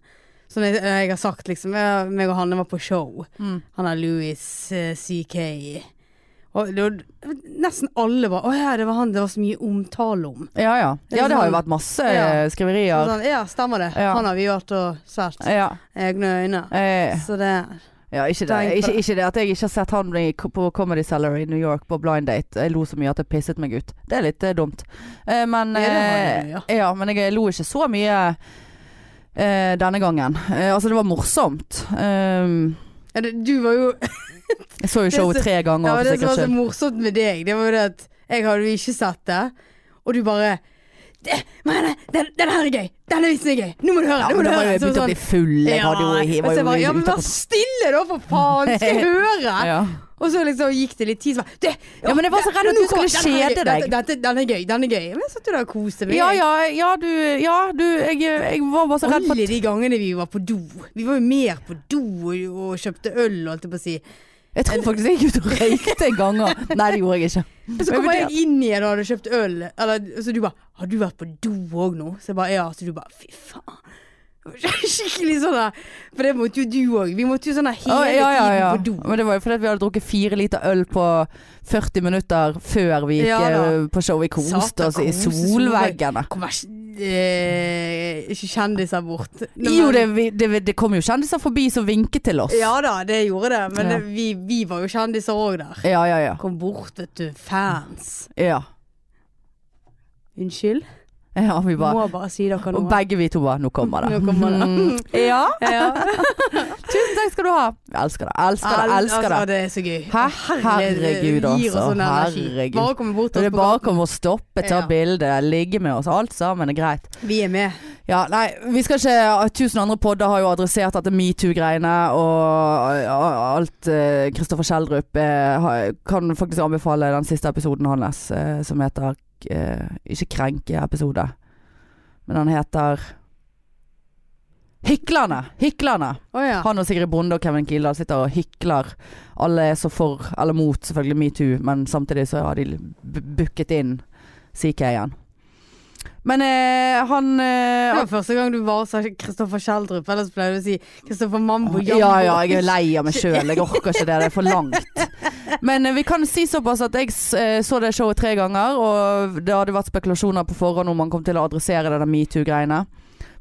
S2: Så når jeg, når jeg har sagt liksom ja, Meg og Hanne var på show Han er Louis eh, CK Og det var, nesten alle var Åja, det var han det var så mye omtale om
S1: Ja ja. Ja, det har
S2: sånn-
S1: jo vært masse eh,
S2: Så
S1: skriverier.
S2: sånn, Ja, stemmer det
S1: Ja.
S2: Han har vi vært og svært
S1: Ja.
S2: egne øyne
S1: eh,
S2: Så det
S1: ja, ikke det. Ikke, ikke det at jeg ikke har sett han bli k- på Comedy Cellar i New York på blind date. Jeg lo så mye at jeg pisset meg ut. Det er litt eh, dumt. Eh, men,
S2: Ja, det har
S1: eh,
S2: jeg, ja.
S1: ja, men jeg lo ikke så mye eh, denne gangen. Eh, altså, det var morsomt. Um,
S2: ja, du, du var jo
S1: jeg så jo
S2: Det er sånn-
S1: showet
S2: så-
S1: tre ganger.
S2: (laughs) Ja, men
S1: for
S2: det som var
S1: sikkerhets
S2: så
S1: skyld.
S2: morsomt med deg, det var jo det at jeg hadde jo ikke sett det, og du bare det, men, nei, den, den her er gøy! Denne vitsen er gøy! Nå må du høre!
S1: Ja,
S2: nå
S1: men
S2: må du
S1: da var
S2: høre!
S1: jeg begynt å bli full. Jeg
S2: sånn- ja,
S1: hadde jo, jeg
S2: og
S1: var
S2: så
S1: jo
S2: jeg bare, ja, men
S1: ute
S2: vær stille da, for faen!
S1: (laughs)
S2: Skal jeg høre?
S1: på- ja.
S2: Og så liksom gikk det litt tid, så bare det,
S1: Ja, men jeg var så redd at
S2: nå
S1: du
S2: kommer-
S1: skulle
S2: den her er
S1: kjede
S2: gøy,
S1: deg.
S2: Dette, dette, den er gøy, den er gøy. Men jeg satt jo der og koste meg.
S1: ja, ja, ja, du, ja, du jeg, jeg var bare så redd for
S2: Alle de gangene vi var på do. Vi var jo mer på do og, og kjøpte øl, holdt jeg på å si.
S1: Jeg tror faktisk jeg gikk ut og røykte en gang. og- (laughs) Nei, det gjorde jeg ikke.
S2: Og så
S1: Men
S2: kommer
S1: det-
S2: jeg inn igjen og hadde kjøpt øl. Eller, så du bare 'Har du vært på do òg nå?' Så jeg bare 'Ja'. Så du bare 'Fy faen'. Skikkelig sånn der. For det måtte jo du òg. Vi måtte jo sånn der hele
S1: Å, ja, ja, ja.
S2: tiden på do.
S1: Men det var jo fordi at vi hadde drukket fire liter øl på 40 minutter før vi gikk
S2: Ja, da.
S1: eh, på show. Vi koste
S2: Satan,
S1: oss i
S2: kose,
S1: solveggene.
S2: Kom vær så- eh, Ikke kjendiser bort. Men-
S1: Jo, det, vi- det, det kom jo kjendiser forbi som vinket til oss.
S2: Ja da, det gjorde det. Men
S1: Ja.
S2: det- vi, vi var jo kjendiser òg der.
S1: ja, ja. ja.
S2: Kom bort, vet du. Fans.
S1: ja.
S2: Unnskyld.
S1: ja vi bare,
S2: Må bare si dere
S1: og
S2: noe.
S1: begge vi to bare Nå kommer det.
S2: Nå kommer det.
S1: Mm. (laughs) Ja.
S2: Ja.
S1: Tusen takk skal du ha. Jeg elsker det. Elsker det. Elsker det.
S2: altså, det er så gøy.
S1: Hæ? Herregud,
S2: Herregud, altså. Gir
S1: altså.
S2: oss sånn energi.
S1: Herregud.
S2: Bare komme bort
S1: Og
S2: til
S1: det
S2: oss
S1: er
S2: på
S1: bare
S2: gaten.
S1: kommer å stoppe, ta
S2: Ja.
S1: bilde, ligge med oss. Alt sammen er greit.
S2: Vi er med.
S1: Ja, nei, vi skal ikke Tusen andre podder har jo adressert dette metoo-greiene og ja, alt eh, Kristoffer Kjeldrup eh, har- kan faktisk anbefale den siste episoden hans, eh, som heter eh, Ikke krenke-episode, men han heter Hyklerne! Hyklerne!
S2: Å ja.
S1: Han og Sigrid Bonde og Kevin Kildahl sitter og hykler. Alle er så for eller mot selvfølgelig metoo, men samtidig så har de b- booket inn CK igjen. Men eh, han
S2: Det
S1: eh,
S2: var første gang du bare sa Kristoffer Kjeldrup. Ellers pleier du å si Kristoffer Mambo Jambo.
S1: Ja ja, jeg er lei av meg sjøl. Jeg orker ikke det. Det er for langt. Men eh, vi kan si såpass at jeg s- eh, så det showet tre ganger, og det hadde vært spekulasjoner på forhånd om han kom til å adressere det der metoo-greiene.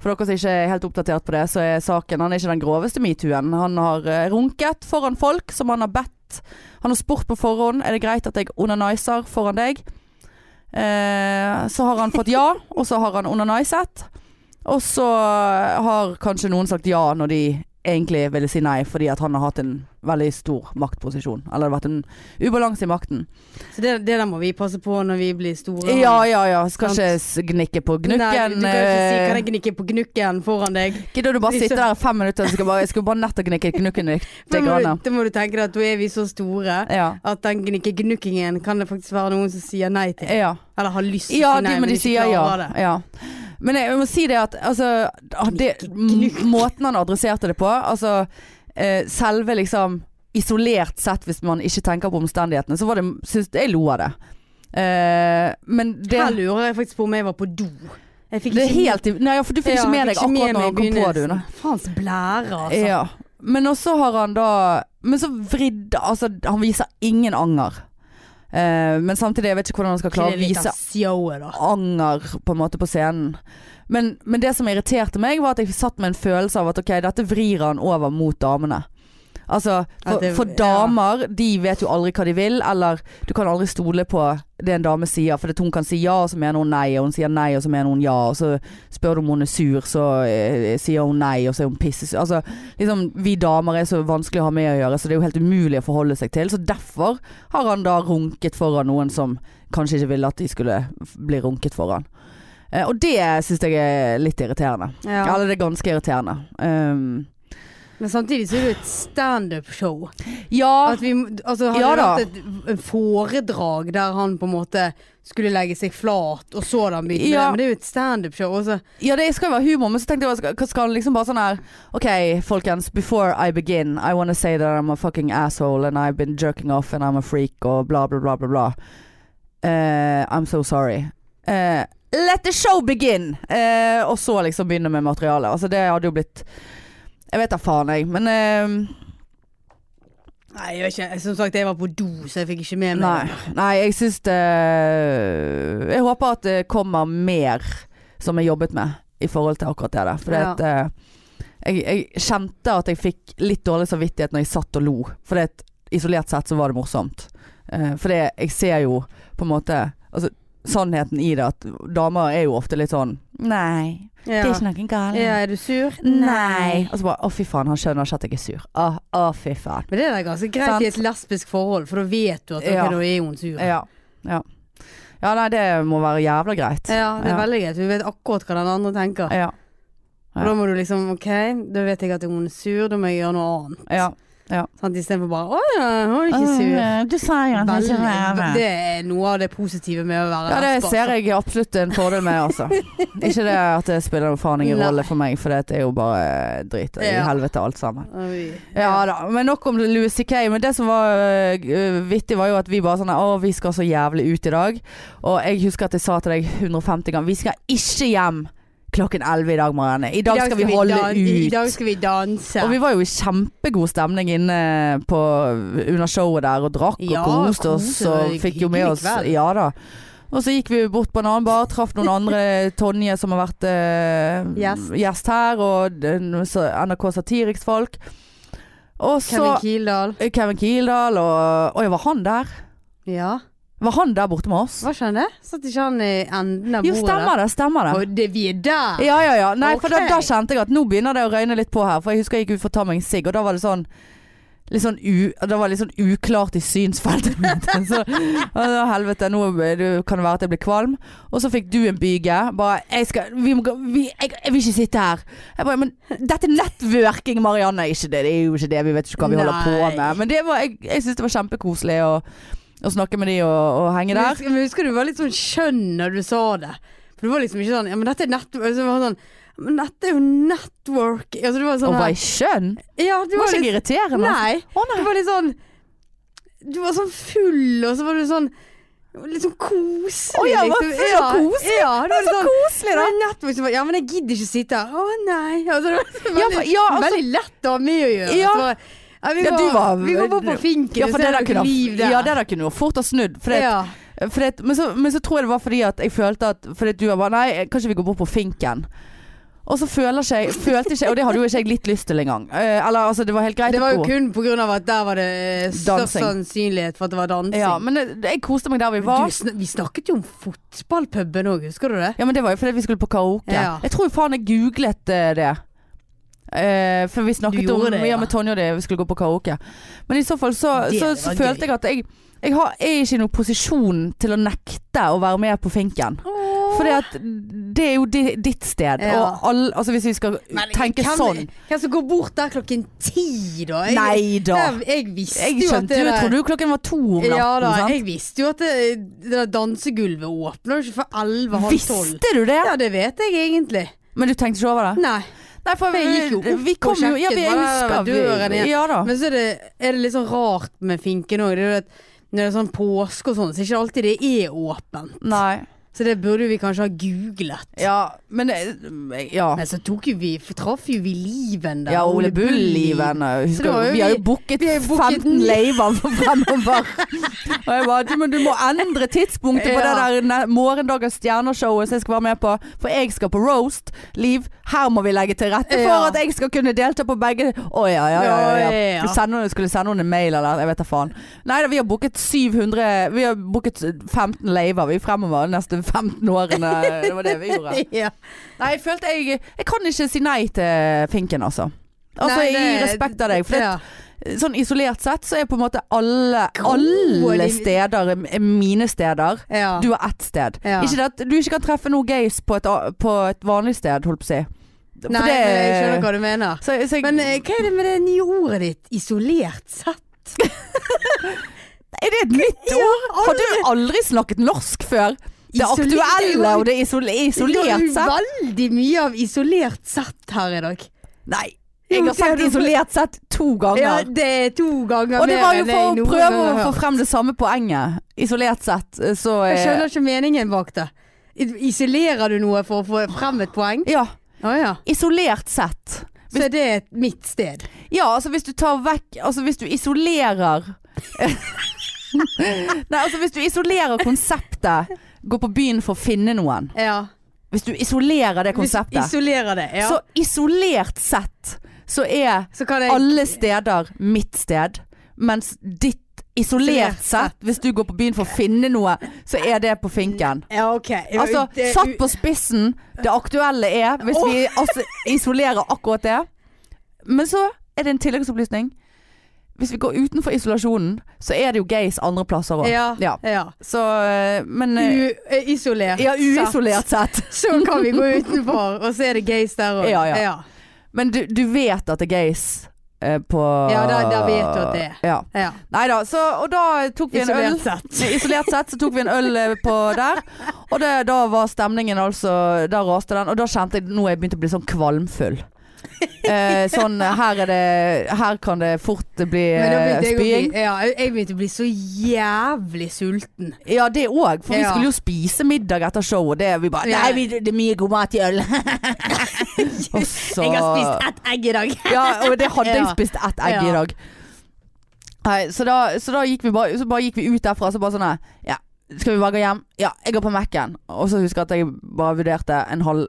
S1: For dere som ikke er helt oppdatert på det, så er saken Han er ikke den groveste metoo-en. Han har eh, runket foran folk som han har bedt. Han har spurt på forhånd Er det greit at jeg onaniser foran deg. Eh, så har han fått ja, og så har han onaniset. Og så har kanskje noen sagt ja når de egentlig ville si nei, fordi at han har hatt en veldig stor maktposisjon. Eller det har vært en ubalanse i makten.
S2: Så det, det der må vi passe på når vi blir store.
S1: Ja, ja, ja. Skal
S2: Sant.
S1: ikke s- gnikke på
S2: Nei,
S1: gnukken.
S2: du kan jo ikke si
S1: eh,
S2: kan jeg gnikke på gnukken foran deg.
S1: Gidder du bare
S2: Hvis
S1: sitte
S2: du-
S1: der i fem minutter? Jeg skal bare, jeg skulle bare nettopp gnikke gnukken
S2: (laughs)
S1: litt.
S2: Da må,
S1: grann.
S2: du, da må du tenke deg at da er vi så store
S1: Ja.
S2: at den gnikke-gnukkingen kan det faktisk være noen som sier nei til.
S1: ja.
S2: Eller har lyst til å
S1: Ja,
S2: si nei,
S1: de, men de
S2: ikke
S1: sier ja.
S2: klarer det.
S1: ja. Men jeg må si det at altså, at det,
S2: Knukk.
S1: Måten han adresserte det på Altså eh, selve liksom Isolert sett hvis man ikke tenker på omstendighetene Så var det, synes jeg lo av det eh, Men det
S2: Her lurer jeg faktisk på om jeg var på do. Jeg fikk
S1: Det er
S2: ikke-
S1: helt i- Nei, ja, for du fikk
S2: Ja,
S1: ikke med
S2: jeg
S1: deg
S2: fikk ikke
S1: akkurat
S2: med
S1: når
S2: meg
S1: han kom
S2: i
S1: på det
S2: begynnelsen.
S1: Une.
S2: Faens blære, altså.
S1: Ja. Men også har han da Men så vridde Altså, han viser ingen anger. Eh, men samtidig, jeg vet ikke hvordan han skal klare å
S2: Det er litt av
S1: vise
S2: showet, da.
S1: anger på en måte på scenen. Men, men det som irriterte meg, var at jeg satt med en følelse av at ok, dette vrir han over mot damene. Altså,
S2: At
S1: for,
S2: det-
S1: for
S2: ja.
S1: damer, de vet jo aldri hva de vil, eller du kan aldri stole på det en dame sier, for hun kan si ja, og så mener hun nei, og hun sier nei, og så mener hun ja, og så spør du om hun er sur, så eh, sier hun nei, og så er hun pissesur. Altså, liksom, vi damer er så vanskelig å ha med å gjøre, så det er jo helt umulig å forholde seg til. Så derfor har han da runket foran noen som kanskje ikke ville at de skulle f- bli runket foran. Eh, og det syns jeg er litt irriterende.
S2: Ja.
S1: Eller det er ganske irriterende. Um,
S2: Men samtidig så er det jo et standup-show.
S1: ja,
S2: At vi må- Altså, hadde
S1: Ah. Ja
S2: det
S1: da.
S2: vært et en foredrag der han på en måte skulle legge seg flat, og så hadde han begynt med
S1: Ja.
S2: det, men det er jo et standup-show også.
S1: ja, det skal jo være humor, men så tenkte jeg skal- hva skal han liksom bare sånn her Ok, folkens, before I begin, I wanna say that I'm a fucking asshole and I've been jerking off and I'm a freak og bla, bla, bla, bla, bla. Eh, I'm so sorry. Eh, let the show begin! Eh, og så liksom begynne med materialet. Altså, det hadde jo blitt Jeg vet da faen, jeg, men eh,
S2: Nei, jeg vet ikke. Som sagt, jeg var på do, så jeg fikk ikke med meg
S1: Nei,
S2: det.
S1: nei jeg syns det eh, Jeg håper at det kommer mer som jeg jobbet med i forhold til akkurat det der. For
S2: Ja.
S1: jeg, jeg kjente at jeg fikk litt dårlig samvittighet når jeg satt og lo. For isolert sett så var det morsomt. For jeg ser jo på en måte altså, sannheten i det at damer er jo ofte litt sånn Nei,
S2: Ja.
S1: noen gale.
S2: ja, er du sur?
S1: Nei. Og så bare Å, fy faen, han skjønner ikke at jeg er sur. Å, å fy faen.
S2: Men det er da ganske greit
S1: Sant.
S2: i et lesbisk forhold, for da vet du at ok,
S1: Ja.
S2: da er hun sur.
S1: Ja. ja. Ja, nei, det må være jævla greit.
S2: Ja, det er
S1: Ja.
S2: veldig greit. Du vet akkurat hva den andre tenker.
S1: Ja.
S2: Og da må du liksom OK, da vet jeg at hun er sur, da må jeg gjøre noe annet.
S1: ja. Mm,
S2: Sant? Istedenfor bare Å ja, hun er ikke sur.
S1: Du sa jo
S2: Veldig- det er noe av det positive med å være
S1: Ja, det
S2: lesbe,
S1: ser
S2: altså.
S1: jeg absolutt en fordel med,
S2: (laughs)
S1: altså. Ikke det at det spiller noen faen ingen
S2: Nei.
S1: rolle for meg, for det er jo bare drit i
S2: Ja.
S1: helvete alt sammen.
S2: Og vi-
S1: Ja da, men nok om Louis C.K. Men det som var øh, vittig, var jo at vi bare sånn Å, vi skal så jævlig ut i dag. Og jeg husker at jeg sa til deg 150 ganger Vi skal ikke hjem klokken 11 i dag, Marianne. I dag, skal vi holde
S2: dan- I
S1: ut.
S2: dag skal vi danse.
S1: Og vi var jo i kjempegod stemning inne på, under showet der og drakk
S2: Ja,
S1: og koste oss.
S2: kose, det var
S1: Og
S2: en
S1: fikk jo med
S2: hyggelig
S1: oss
S2: kveld.
S1: Ja da. Og så gikk vi bort på en annen bar, traff noen andre
S2: (laughs)
S1: Tonje som har vært eh,
S2: Gjest.
S1: gjest her, og den- så NRK Satiriks-folk. Og
S2: Kevin
S1: så
S2: Kildahl.
S1: Kevin Kildahl og Oi, var han der?
S2: Ja.
S1: Var han der borte med oss?
S2: Var ikke han det? Satt ikke han i enden av
S1: Jo,
S2: bordet?
S1: stemmer det. Stemmer det.
S2: Og det, vi er der!
S1: Ja, ja, ja. Nei, for da,
S2: Ok.
S1: da kjente jeg at nå begynner det å røyne litt på her. For jeg husker jeg gikk ut for å ta meg en sigg, og da var det sånn Litt sånn, u, det var litt sånn uklart i synsfeltet mitt. (laughs) Så, å, helvete, nå er du- kan det være at jeg blir kvalm. Og så fikk du en byge. Bare jeg, skal, vi må, gå- vi, jeg, 'Jeg vil ikke sitte her'. Jeg bare, Men dette er nettworking, Marianne. Ikke det, det er jo ikke det. Vi vet ikke hva vi holder på
S2: Nei.
S1: med. Men det var, jeg, jeg syns det var kjempekoselig å, å snakke med de og, og henge
S2: Men
S1: der.
S2: husker, men husker du var litt sånn skjønn når du sa det? For du var liksom ikke sånn Ja, men dette er nett... Altså, det var sånn, men dette er jo network altså, det var sånn
S1: Og var
S2: her-
S1: jeg skjønn?
S2: ja,
S1: Det var
S2: du var
S1: ikke altså.
S2: litt,
S1: irriterende.
S2: Nei.
S1: Å, nei.
S2: Du var litt sånn Du var sånn full, og så var du sånn Litt sånn koselig. liksom.
S1: Å, jeg var full og koselig.
S2: Ja, ja, det var
S1: Så
S2: sånn
S1: koselig, da.
S2: Men network, så bare, ja, men jeg gidder ikke sitte her. Å nei. (laughs) Altså, det var så
S1: Ja,
S2: veldig,
S1: for- ja, altså-
S2: veldig lett å ha med å gjøre.
S1: Ja.
S2: Så bare, ja, vi
S1: Ja,
S2: går,
S1: du var-
S2: vi går bare på finken
S1: Ja, for det der kunne,
S2: liv der.
S1: ja, det der kunne jo fort ha snudd. For det,
S2: Ja.
S1: for det, men, så, men så tror jeg det var fordi at jeg følte at Fordi at du var bare Nei, kanskje vi går bort på finken. Og så føler ikke jeg Følte ikke Og det hadde jo ikke jeg litt lyst til engang. Eh, eller altså, det var helt greit
S2: Det var
S1: å
S2: jo
S1: gå.
S2: kun på grunn av at der var det eh, størst
S1: Dansing.
S2: sannsynlighet for at det var dansing.
S1: Ja, men det, det- jeg koste meg der vi
S2: du,
S1: var.
S2: sn- vi snakket jo om fotballpuben òg, husker du det?
S1: Ja, men det var jo fordi vi skulle på karaoke.
S2: Ja.
S1: Jeg tror jo faen jeg googlet eh, det. Eh, for vi snakket om
S2: Du gjorde det,
S1: ja,
S2: ja.
S1: med Tonje og det, vi skulle gå på karaoke. Men i så fall så,
S2: Det
S1: så,
S2: var
S1: så
S2: gøy.
S1: følte jeg at jeg, jeg har, er ikke i noen posisjon til å nekte å være med på finken. For det, at det er jo di, ditt sted.
S2: Ja.
S1: Og all, altså hvis vi skal tenke
S2: hvem,
S1: sånn.
S2: Hvem som går bort der klokken ti, da? Jeg,
S1: Nei da.
S2: Jeg, jeg visste
S1: Jeg
S2: jo at
S1: skjønte
S2: det
S1: jo, jeg
S2: der-
S1: trodde jo klokken var to om natten.
S2: Ja da,
S1: sant?
S2: jeg visste jo at det, det der dansegulvet åpner jo ikke for elleve, halv tolv.
S1: Visste du det?
S2: Ja, det vet jeg egentlig.
S1: Men du tenkte ikke over det?
S2: Nei.
S1: Nei, for
S2: Jeg gikk jo opp
S1: vi
S2: og
S1: kom jo, ja,
S2: sjekket
S1: vi, jeg
S2: bare
S1: husker vi-
S2: døren igjen.
S1: Ja da.
S2: Men så er det, er det litt sånn rart med finken òg. Når det er sånn påske og sånn, så er det ikke alltid det er åpent.
S1: Nei.
S2: Så det burde vi kanskje ha googlet.
S1: Ja, men eh, Ja.
S2: Men så tok jo vi, for traff jo vi Liven der.
S1: Ja, Ole Bull-liven. jeg
S2: Så det
S1: husker
S2: var
S1: jo-
S2: jo
S1: Vi har jo
S2: vi-
S1: booket
S2: vi har jo booket
S1: 15
S2: ni-
S1: laver for
S2: (laughs)
S1: fremover. Og jeg bare, du, men du må endre tidspunktet på
S2: Ja.
S1: det der ne- morgendagers stjerneshowet som jeg skal være med på. For jeg skal på roast. Liv, her må vi legge til rette for
S2: Ja.
S1: at jeg skal kunne delta på begge. Å ja, ja, ja. ja,
S2: Ja,
S1: ja.
S2: ja.
S1: Du sender, henne- skulle sende henne en mail eller jeg vet da faen. Nei da, vi har booket 700 Vi har booket 15 laver vi fremover de neste 15 årene. Det var det vi gjorde.
S2: (laughs) Ja.
S1: Nei, jeg følte jeg Jeg kan ikke si nei til finken, altså. Altså,
S2: Nei,
S1: I
S2: det-
S1: respekt av deg. For
S2: ja.
S1: det, sånn isolert sett så er på en måte alle,
S2: Gro,
S1: alle
S2: de-
S1: steder er mine steder.
S2: Ja.
S1: Du har ett sted.
S2: Ja.
S1: Ikke det at du ikke kan treffe noe gays på et, a- på et vanlig sted, holdt på å si. For
S2: Nei,
S1: det-
S2: men jeg skjønner hva du mener.
S1: Så, så jeg,
S2: Men eh, hva er det med det nye ordet ditt? Isolert sett?
S1: er det et nytt ord? Har du aldri snakket norsk før? Det
S2: Isolert-
S1: aktuelle og det isole, isolert
S2: Det
S1: sett.
S2: var jo veldig mye av isolert sett her i dag.
S1: Nei.
S2: Jo,
S1: Jeg har
S2: det har
S1: sagt
S2: du-
S1: isolert sett to ganger.
S2: Ja, det er to ganger
S1: Og det
S2: mer
S1: var jo
S2: enn jeg
S1: for å
S2: noen
S1: prøve
S2: gang
S1: å
S2: har
S1: få
S2: hørt.
S1: frem det samme poenget. Isolert sett, så eh,
S2: Jeg skjønner ikke meningen bak det. I- Isolerer du noe for å få frem et poeng?
S1: Ja.
S2: Å ja.
S1: Isolert sett.
S2: Så er det et- mitt sted.
S1: Ja, altså hvis du tar vekk Altså hvis du isolerer (laughs) Nei, altså hvis du isolerer konseptet Gå på byen for å finne noen.
S2: Ja.
S1: Hvis du isolerer det
S2: Hvis
S1: konseptet,
S2: Isolerer det. Ja.
S1: så isolert sett så er
S2: Så kan jeg
S1: alle steder mitt sted, mens ditt isolert
S2: Isolert
S1: sett, hvis du går på byen for å finne noe, så er det på finken.
S2: Ja, eh, ok.
S1: Altså,
S2: Det-
S1: satt på spissen, det aktuelle er Hvis vi altså, isolerer akkurat det. Men så er det en tilleggsopplysning. Hvis vi går utenfor isolasjonen, så er det jo gays andre plasser òg.
S2: Ja.
S1: Ja.
S2: ja.
S1: Så eh, Men eh,
S2: U eh, isolert.
S1: Ja, uisolert sett.
S2: sett. Så kan vi gå utenfor, og så er det gays der òg.
S1: Ja, ja.
S2: ja.
S1: Men du, du vet at det er gays eh, på
S2: Ja, der- der vet du at det er.
S1: Ja.
S2: ja.
S1: Nei da, så Og da tok vi en øl.
S2: Isolert sett.
S1: Nei, Isolert sett så tok vi en øl eh, på der, og det, da var stemningen altså Da raste den, og da kjente jeg nå er jeg begynt å bli sånn kvalmfull. Eh, sånn her er det Her kan det fort bli
S2: Men da
S1: eh,
S2: begynte jeg, å
S1: spying.
S2: bli, ja, jeg begynte å bli så jævlig sulten.
S1: Ja, det òg, for vi
S2: Ja.
S1: skulle jo spise middag etter show, og det vi bare
S2: Ja.
S1: Nei, vi, det er mye god mat i
S2: (laughs)
S1: øl. og så
S2: Jeg har spist ett egg
S1: (laughs)
S2: i dag.
S1: Ja, og det hadde jeg
S2: Ja.
S1: spist ett egg i
S2: Ja.
S1: dag. Nei, så da, så da gikk vi bare, så bare gikk vi ut derfra, så bare sånn her, Ja, skal vi bare gå hjem? Ja, jeg går på Mac-en. Og så husker jeg at jeg bare vurderte en halv,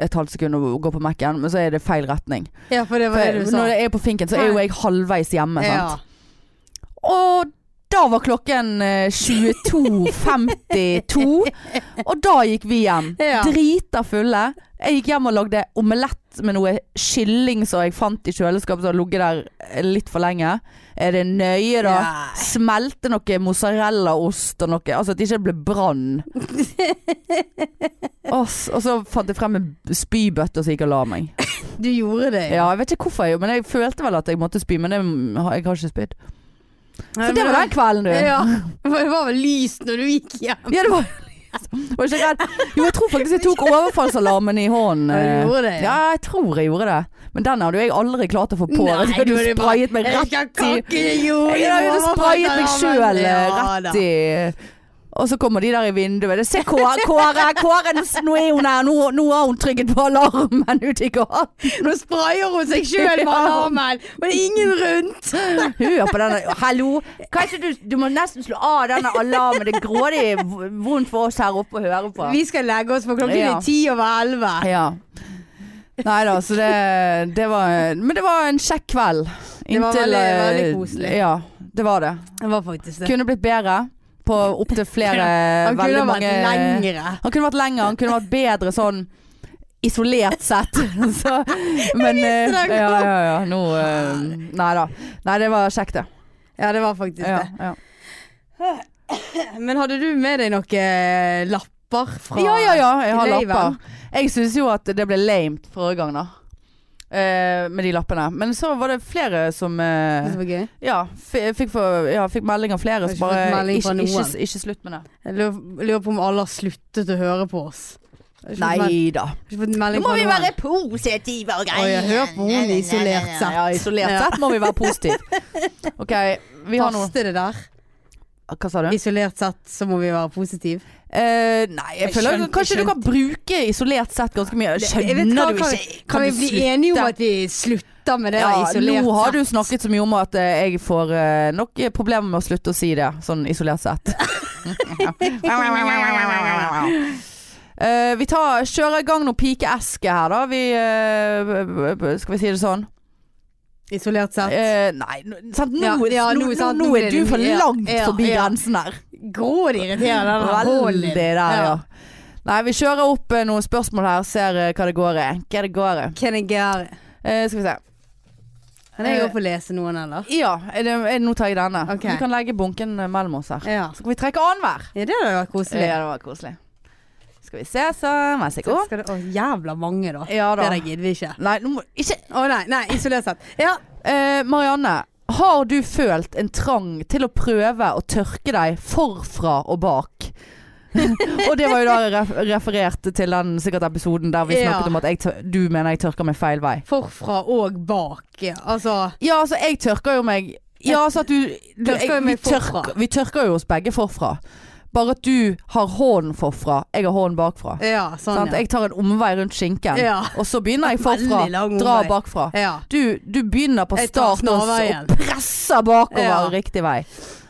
S1: et halvt sekund å gå på Mac-en, men så er det feil retning.
S2: Ja, for det
S1: For
S2: var det du sa.
S1: når jeg er på finken, så er jo jeg halvveis hjemme,
S2: ja.
S1: sant. Og da var klokken eh, 22.52,
S2: (laughs)
S1: og da gikk vi hjem.
S2: Ja.
S1: Drita fulle. Jeg gikk hjem og lagde omelett med noe kylling som jeg fant i kjøleskapet som hadde ligget der eh, litt for lenge. Er det nøye, da?
S2: Nei.
S1: Smelte noe mozzarellaost og noe, altså at det ikke ble brann.
S2: (laughs)
S1: og, s- og så fant jeg frem en spybøtte og så gikk jeg og la meg.
S2: Du gjorde det.
S1: Ja, jeg vet ikke hvorfor, jeg, men jeg følte vel at jeg måtte spy, men jeg, jeg har ikke spydd.
S2: Nei,
S1: Så det
S2: men
S1: var den kvelden, du.
S2: Ja, (laughs) for det var vel lyst når du gikk hjem.
S1: Ja, det var var ikke redd. Jo, jeg tror faktisk jeg tok overfallsalarmen i hånden. eh,
S2: Ja, du gjorde det, ja.
S1: Ja, jeg tror jeg gjorde det. Men den hadde jo jeg aldri klart å få på.
S2: Nei,
S1: Nei, du
S2: da er det bare-
S1: sprayet meg
S2: Jeg
S1: rett
S2: skal
S1: i
S2: kakke jord
S1: Jeg hadde sprayet meg sjøl
S2: Ja, da.
S1: rett i og så kommer de der i vinduet. Se Kåre, Kåre, Kåre nå s- nå er hun her. Nå, nå har hun trykket på alarmen ute i gaten.
S2: Nå sprayer hun seg sjøl med
S1: (laughs) Ja.
S2: alarmen, og det er ingen rundt.
S1: Hør på denne. Hallo. Kanskje du, du må nesten slå av denne alarmen. Det er grådig vondt for oss her oppe å høre på.
S2: Vi skal legge oss, for klokken
S1: Ja.
S2: er ti over elleve.
S1: (laughs) Ja. Nei da, så det, det var Men det var en kjekk kveld.
S2: Det var veldig-
S1: eh,
S2: veldig koselig.
S1: Ja, det var det.
S2: Det var faktisk det.
S1: Kunne blitt bedre på opptil flere
S2: (laughs) Han kunne
S1: veldig
S2: ha vært
S1: mange
S2: lengre.
S1: Han kunne vært lengre, han kunne vært bedre sånn Isolert sett. (laughs)
S2: (laughs)
S1: Så, men eh,
S2: visste det kom.
S1: ja, ja, ja. Nå eh, Nei da. Nei, det var kjekt, det.
S2: Ja, det var faktisk
S1: Ja,
S2: det.
S1: ja.
S2: Men hadde du med deg noen lapper fra
S1: ja, ja, ja. Jeg har
S2: Leiven.
S1: lapper. Jeg syns jo at det ble lamet forrige gang, da. Eh, med de lappene. Men så var det flere som eh,
S2: Det var gøy.
S1: Ja, f fikk, for, ja, fikk melding av flere
S2: Har
S1: som
S2: ikke fått
S1: bare
S2: melding
S1: ikke,
S2: fra
S1: ikke,
S2: noen.
S1: ikke slutt med det.
S2: Jeg lurer lurer på om alle har sluttet å høre på oss. Jeg har ikke fått meld-
S1: Nei da.
S2: jeg har ikke fått
S1: Nå
S2: melding
S1: må
S2: fra
S1: vi
S2: noen.
S1: være positive og
S2: Oi,
S1: greier.
S2: jeg hører på hun isolert sett.
S1: Ja, isolert
S2: Ja.
S1: sett må vi være
S2: (laughs)
S1: positive. OK, vi har noe
S2: Faste det der.
S1: Hva sa du?
S2: Isolert sett så må vi være positive.
S1: Eh, nei, jeg
S2: Jeg
S1: føler
S2: skjønte-
S1: Kanskje
S2: jeg
S1: du kan bruke isolert sett ganske mye.
S2: Det- jeg
S1: Skjønner
S2: vet hva,
S1: du
S2: kan
S1: ikke?
S2: vi- Kan vi
S1: du
S2: bli
S1: slutte?
S2: enige om at vi slutter med det
S1: ja,
S2: der isolert
S1: Nå har
S2: sett?
S1: du snakket så mye om at eh, jeg får eh, nok eh, problemer med å slutte å si det, sånn isolert
S2: (laughs)
S1: sett. Eh, vi tar, kjører i gang noe pikeeske her, da. Vi, eh, b- b- skal vi si det sånn?
S2: Isolert sett.
S1: Eh, nei, nå- sant? Nå,
S2: Ja, ja,
S1: nå,
S2: nå,
S1: nå,
S2: sant,
S1: nå
S2: nå
S1: er
S2: blir
S1: du
S2: det-
S1: for
S2: ja,
S1: langt
S2: ja,
S1: forbi
S2: ja.
S1: grensen her.
S2: Grådig irriterende. den
S1: (laughs)
S2: der hålen
S1: Veldig
S2: din.
S1: der, ja.
S2: Ja.
S1: Nei, vi kjører opp eh, noen spørsmål her, ser eh, hva det går i. Hva det går i.
S2: Can I get it?
S1: Eh, skal vi se.
S2: Kan jeg
S1: Eh.
S2: gå opp og lese noen, eller?
S1: Ja, er det, er, nå tar jeg denne.
S2: Ok.
S1: Vi kan legge bunken eh, mellom oss her.
S2: Ja.
S1: Så kan vi trekke annenhver.
S2: ja det hadde vært koselig.
S1: Ja, det var koselig. Skal vi se, så. Vær så god.
S2: Skal det, å, jævla mange, da.
S1: Ja
S2: Det
S1: da.
S2: der gidder vi ikke.
S1: Nei, nå må ikke
S2: Å nei, nei, isolert sett. Ja.
S1: eh, Marianne. Har du følt en trang til å prøve å tørke deg forfra og (laughs) bak? og det var jo da ref referert til den sikkert episoden der vi
S2: Ja.
S1: snakket om at jeg tør- du mener jeg tørker meg feil vei.
S2: Forfra og bak. ja. Altså
S1: Ja, altså jeg tørker jo meg Ja, altså at du, du
S2: Tørker
S1: jeg,
S2: jo
S1: vi,
S2: meg forfra.
S1: tørker, vi tørker jo oss begge forfra. Bare at du har hånden forfra, jeg har hånden bakfra.
S2: Ja, sånn.
S1: sant? Jeg tar en omvei rundt skinken,
S2: Ja.
S1: og så begynner (laughs) jeg forfra.
S2: Veldig lang
S1: Dra
S2: omvei.
S1: bakfra.
S2: ja.
S1: Du, du begynner på
S2: Jeg tar
S1: start og
S2: snarveien.
S1: og presser bakover
S2: Ja.
S1: riktig vei.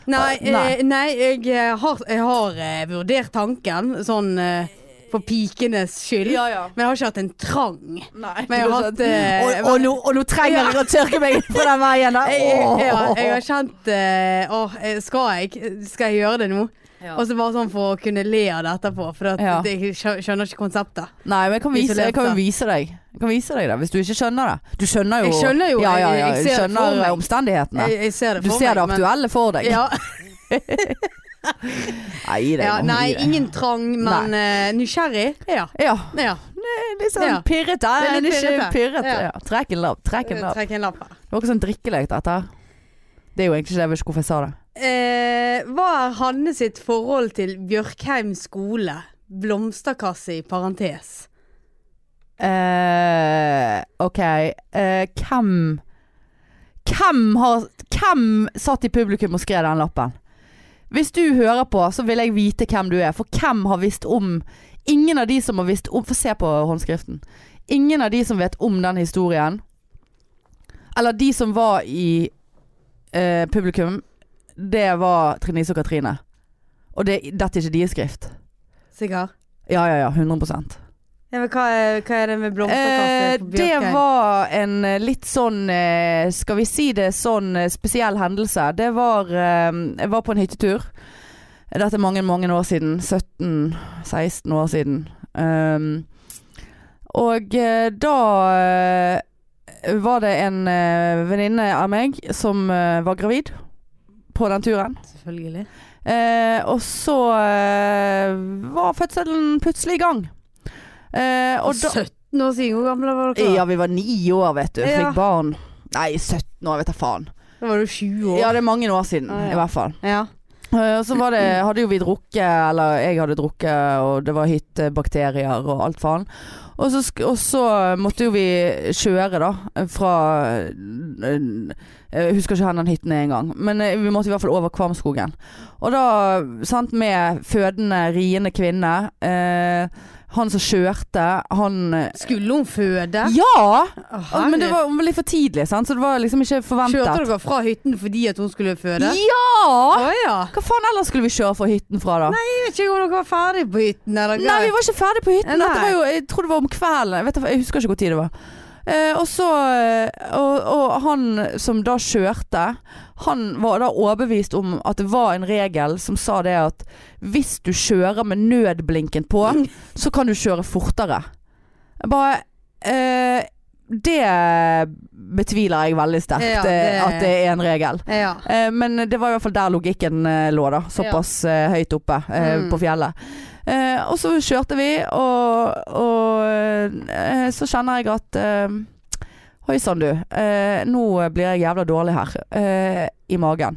S2: Nei,
S1: Nei.
S2: eh, nei jeg, eh, har, jeg har eh, vurdert tanken sånn eh, for pikenes skyld.
S1: ja.
S2: Men jeg har ikke hatt en trang.
S1: Nei.
S2: Men jeg har hatt, eh,
S1: og, og, nå, og nå trenger jeg å tørke meg på den veien. da.
S2: (laughs) Jeg, jeg, ja,
S1: Åh.
S2: jeg har kjent eh, Åh, eh, skal jeg? Skal jeg gjøre det nå?
S1: Ja.
S2: Og så bare sånn for å kunne le av det etterpå, for at
S1: Ja.
S2: jeg skjø- skjønner ikke konseptet.
S1: Nei, men jeg kan vise, jeg
S2: Isolert,
S1: kan
S2: da.
S1: jo vise deg. Jeg kan vise deg det, hvis du ikke skjønner det. Du skjønner jo
S2: Jeg skjønner jo,
S1: ja, ja, ja,
S2: jeg- jeg
S1: du
S2: ser det for
S1: skjønner
S2: meg.
S1: omstendighetene.
S2: Jeg, jeg ser det
S1: Du
S2: for
S1: ser det
S2: meg. men-
S1: aktuelle for deg.
S2: Ja,
S1: Nei, det er
S2: ja,
S1: noe-
S2: nei, ingen trang, men eh, nysgjerrig. Ja.
S1: Ja.
S2: ja.
S1: Litt sånn
S2: Ja.
S1: pirrete.
S2: Det er
S1: Men
S2: litt
S1: ikke
S2: pirrete.
S1: pirrete.
S2: Ja.
S1: Ja. Trekk en lapp. Trekk en lapp.
S2: Trekk en lapp her.
S1: Det var ikke sånn drikkelek dette her. Det er jo egentlig ikke det. Jeg vet ikke hvorfor jeg sa det.
S2: Eh, hva er Hanne sitt forhold til Bjørkheim skole? Blomsterkasse i parentes.
S1: Eh, ok. Eh, hvem Hvem har Hvem satt i publikum og skrev den lappen? Hvis du hører på, så vil jeg vite hvem du er. For hvem har visst om Ingen av de som har visst om Få se på håndskriften. Ingen av de som vet om den historien, eller de som var i eh, publikum, det var Trine Lise og Katrine. Og det, dette er ikke deres skrift.
S2: Sikkert.
S1: Ja, ja, ja. 100
S2: Ja, men hva, er, hva er det med blomsterkasse
S1: Eh,
S2: på
S1: det
S2: Bjørkheim?
S1: var en eh, litt sånn eh, Skal vi si det sånn eh, spesiell hendelse. Det var eh, Jeg var på en hyttetur. Dette er mange, mange år siden. 17-16 år siden. Um, og eh, da eh, var det en eh, venninne av meg som eh, var gravid på den turen.
S2: Selvfølgelig.
S1: Eh, og så eh, var fødselen plutselig i gang. Eh, og da
S2: 17 år siden, hvor gamle var dere?
S1: ja, vi var ni år, vet du.
S2: Ja.
S1: Fikk barn. Nei, 17 år, vet jeg faen.
S2: Da var du 20 år.
S1: Ja, det er mange år siden,
S2: Ah, ja.
S1: i hvert fall.
S2: Ja.
S1: Eh, Og så var det, hadde jo vi drukket, eller jeg hadde drukket, og det var hyttebakterier og alt faen. Og så, sk- og så eh, måtte jo vi kjøre da, fra eh, Jeg husker ikke hvor den hytten er engang, men eh, vi måtte i hvert fall over Kvamskogen. Og da, sant, med fødende, riende kvinne eh, Han som kjørte, han
S2: Skulle hun føde?
S1: Ja!
S2: Å,
S1: Ja, men det
S2: herregud.
S1: var litt for tidlig, sant? så det var liksom ikke
S2: Kjørte
S1: forventet.
S2: dere fra hytten fordi at hun skulle føde?
S1: Ja!
S2: Å ja.
S1: Hva faen ellers skulle vi kjøre fra hytten fra, da? Nei,
S2: Jeg vet ikke om dere var ferdig på hytten. Eller? hva?
S1: vi var ikke ferdig på hytten.
S2: Nei.
S1: Dette var jo, jeg tror det var om kvelden. Jeg, vet, da- jeg husker ikke hvor tid det var. Eh, og så eh, og, og han som da kjørte, han var da overbevist om at det var en regel som sa det at
S2: (laughs)
S1: hvis du kjører med nødblinken på, så kan du kjøre fortere Jeg Bare eh, Det betviler jeg veldig sterkt,
S2: Ja,
S1: eh,
S2: det-
S1: at det er en regel.
S2: Ja.
S1: Eh, men det var i hvert fall der logikken eh, lå, da. Såpass eh, høyt oppe eh,
S2: Mm.
S1: på fjellet. Eh, og så kjørte vi, og, og eh, så kjenner jeg at eh, Oi sann, du. Eh, nå blir jeg jævla dårlig her. Eh, I magen.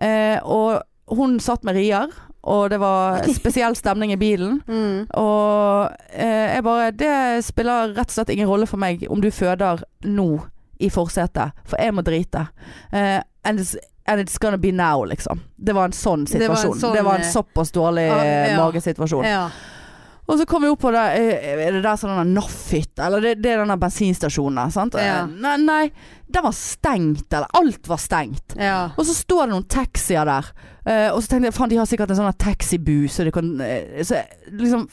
S1: Eh, og hun satt med rier, og det var spesiell stemning i bilen.
S2: Mm.
S1: Og eh, jeg bare Det spiller rett og slett ingen rolle for meg om du føder nå i forsetet, for jeg må drite. Eh, and, it's, and it's gonna be now, liksom. Det var en sånn
S2: Det var en
S1: situasjon.
S2: sånn,
S1: Det var en
S2: eh,
S1: såpass dårlig
S2: ah,
S1: eh,
S2: ja.
S1: magesituasjon.
S2: Ja.
S1: Og så kom vi opp på det eh, Er det der sånn den NAF-hytta? Eller det, det er den der bensinstasjonen der, sant?
S2: Ja.
S1: Eh, Nei, nei, den var stengt, eller alt var stengt.
S2: ja.
S1: Og så står det noen taxier der. Eh, og så tenkte jeg faen, de har sikkert en sånn her taxibu, så de kan eh, så, jeg- Liksom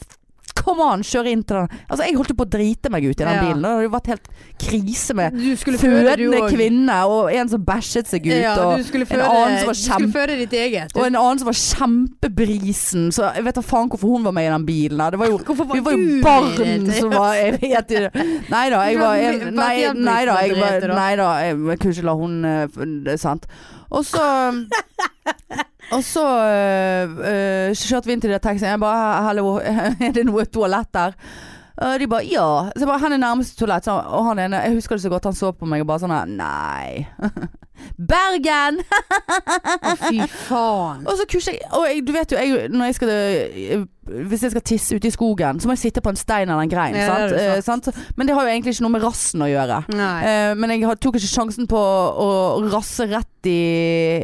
S1: Come on, kjør inn til den. Altså, jeg holdt jo på å drite meg ut i den
S2: Ja.
S1: bilen. og Det hadde jo vært helt krise med
S2: Du skulle føde, du
S1: fødende
S2: òg.
S1: kvinne og en som bæsjet seg ut.
S2: Ja,
S1: og,
S2: du skulle
S1: en
S2: føde,
S1: annen som var
S2: du skulle
S1: kjempe-
S2: føde ditt eget.
S1: og en annen som var kjempebrisen. Så jeg vet da faen hvorfor hun var med i den bilen. her. Det var jo
S2: Hvorfor var
S1: vi var
S2: du
S1: jo
S2: med i det
S1: barn
S2: hele
S1: som
S2: tatt?
S1: var Jeg vet ikke. Nei da, jeg var en,
S2: Bare
S1: nei,
S2: helt
S1: nei da, jeg
S2: drete,
S1: var
S2: da.
S1: Nei da, jeg jeg kunne ikke la hun eh, f- Det er sant. Og
S2: (laughs)
S1: så Og så eh, eh, kjørte vi inn til det taxien. Jeg bare Hallo, (laughs) er det noe toalett der? Og de bare ja. Så jeg bare, han er nærmeste toalett. Så, og han ene, jeg husker det så godt, han så på meg og bare sånn her Nei. (laughs) Bergen!
S2: (laughs) Å, fy faen.
S1: Og så kurser jeg Og jeg, du vet jo, jeg, når jeg skal øh, Hvis jeg skal tisse ute i skogen, så må jeg sitte på en stein eller en grein.
S2: Ja, det har
S1: sant?
S2: du sagt.
S1: Eh, sant? Men det har jo egentlig ikke noe med rassen å gjøre.
S2: Nei.
S1: Eh, men jeg har- tok ikke sjansen på å rasse rett i,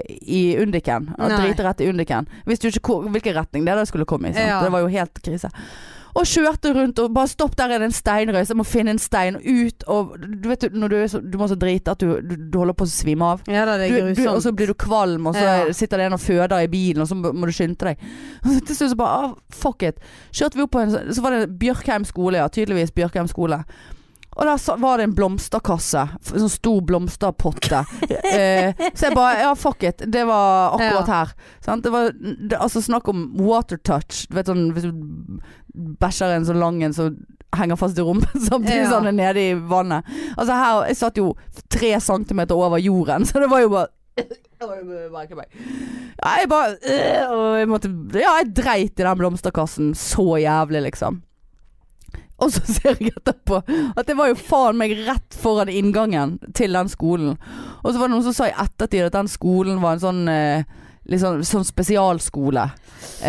S1: i undiken. Å
S2: Nei.
S1: Drite rett i undiken. Visste jo ikke hvor, hvilken retning det da skulle komme i. Sant?
S2: Ja.
S1: Det var jo helt krise. Og kjørte rundt og bare stopp, der er det en steinrøys, jeg må finne en stein ut og Du vet jo, når du, er så, du må så drite at du, du, du holder på å svime av
S2: Ja da, det er
S1: du, du, og
S2: grusomt.
S1: så blir du kvalm, og så
S2: Ja.
S1: sitter det en og føder i bilen, og så må må du skynde deg. (laughs) Til slutt så bare ah, fuck it. Kjørte vi opp på en sånn- Så var det Bjørkheim skole, ja. Tydeligvis Bjørkheim skole. Og der sa- var det en blomsterkasse. f- En sånn stor blomsterpotte. eh, så jeg bare Ja, fuck it. Det var akkurat her. Sant? Det var det, altså snakk om water touch. Du vet sånn hvis du bæsjer en så lang en, så henger fast i rumpen (laughs) samtidig
S2: Ja.
S1: som den er nede i vannet. Altså her, jeg satt jo tre centimeter over jorden, (laughs) så det var jo bare det var jo bare ikke meg. Ja, jeg bare øh, og jeg måtte, Ja, jeg dreit i den blomsterkassen så jævlig, liksom. Og så ser jeg etterpå at det var jo faen meg rett foran inngangen til den skolen. Og så var det noen som sa i ettertid at den skolen var en sånn eh, Litt sånn, sånn spesialskole.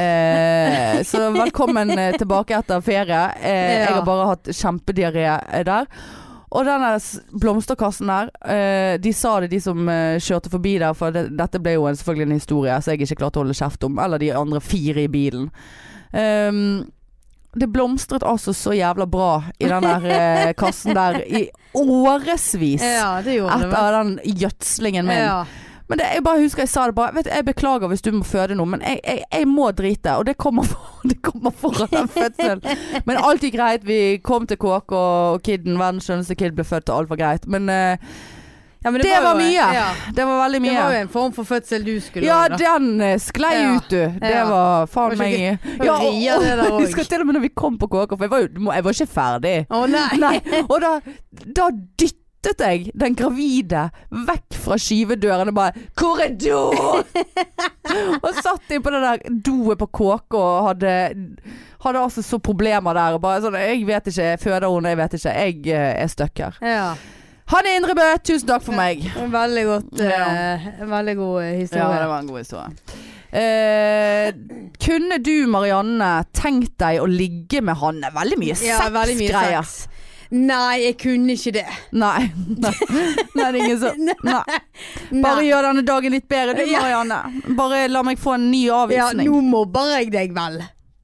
S1: Eh, så velkommen eh, tilbake etter ferie. Eh,
S2: Ja.
S1: Jeg har bare hatt kjempediaré eh, der. Og den der s- blomsterkassen der, eh, de sa det de som eh, kjørte forbi der, for det, dette ble jo en, selvfølgelig en historie som jeg ikke klarte å holde kjeft om, eller de andre fire i bilen. Ehm, det blomstret altså så jævla bra i den der eh,
S2: (laughs)
S1: kassen der i årevis.
S2: Ja, det gjorde det. vel.
S1: Etter den gjødslingen min.
S2: Ja.
S1: Men det, jeg bare husker jeg sa det bare Vet du, jeg beklager hvis du må føde nå, men jeg, jeg, jeg må drite. Og det kommer, for, (laughs) det kommer foran den fødselen. Men alt gikk greit. Vi kom til KK, og kidden, verdens skjønneste kid, ble født, og alt var greit. Men eh,
S2: Ja, men
S1: Det var
S2: jo-
S1: mye.
S2: Ja,
S1: det var veldig
S2: det
S1: mye.
S2: var jo en form for fødsel du skulle
S1: Ja,
S2: ha, da.
S1: den eh, sklei
S2: Ja.
S1: ut, du. Det
S2: Ja.
S1: var faen
S2: Det var
S1: meg
S2: ikke-
S1: Ja, og,
S2: rier det der
S1: og,
S2: også.
S1: husker til og med når vi kom på KK, for jeg var jo jeg var ikke ferdig.
S2: Å nei.
S1: (laughs) Nei, og da, da dyttet jeg den gravide vekk fra skyvedøren og bare
S2: (laughs)
S1: 'Korridor!' og satt inn på det der doet på KK og hadde, hadde altså så problemer der. Og bare sånn 'Jeg vet ikke, jeg føder hun, jeg vet ikke. Jeg eh, er stuck her'.
S2: Ja.
S1: Hanne Indrebø, tusen takk for meg.
S2: En Veldig godt
S1: Ja.
S2: eh, en Veldig god eh,
S1: Ja,
S2: historie.
S1: det var en god historie. Eh, kunne du, Marianne, tenkt deg å ligge med Hanne? Veldig mye
S2: Ja, veldig mye
S1: sexgreier.
S2: sex. Nei, jeg kunne ikke det.
S1: Nei. Nei, det er ingen som Nei. Bare
S2: Nei.
S1: gjør denne dagen litt bedre du,
S2: Ja.
S1: Marianne. Bare la meg få en ny
S2: Ja,
S1: avvisning.
S2: nå mobber jeg deg vel.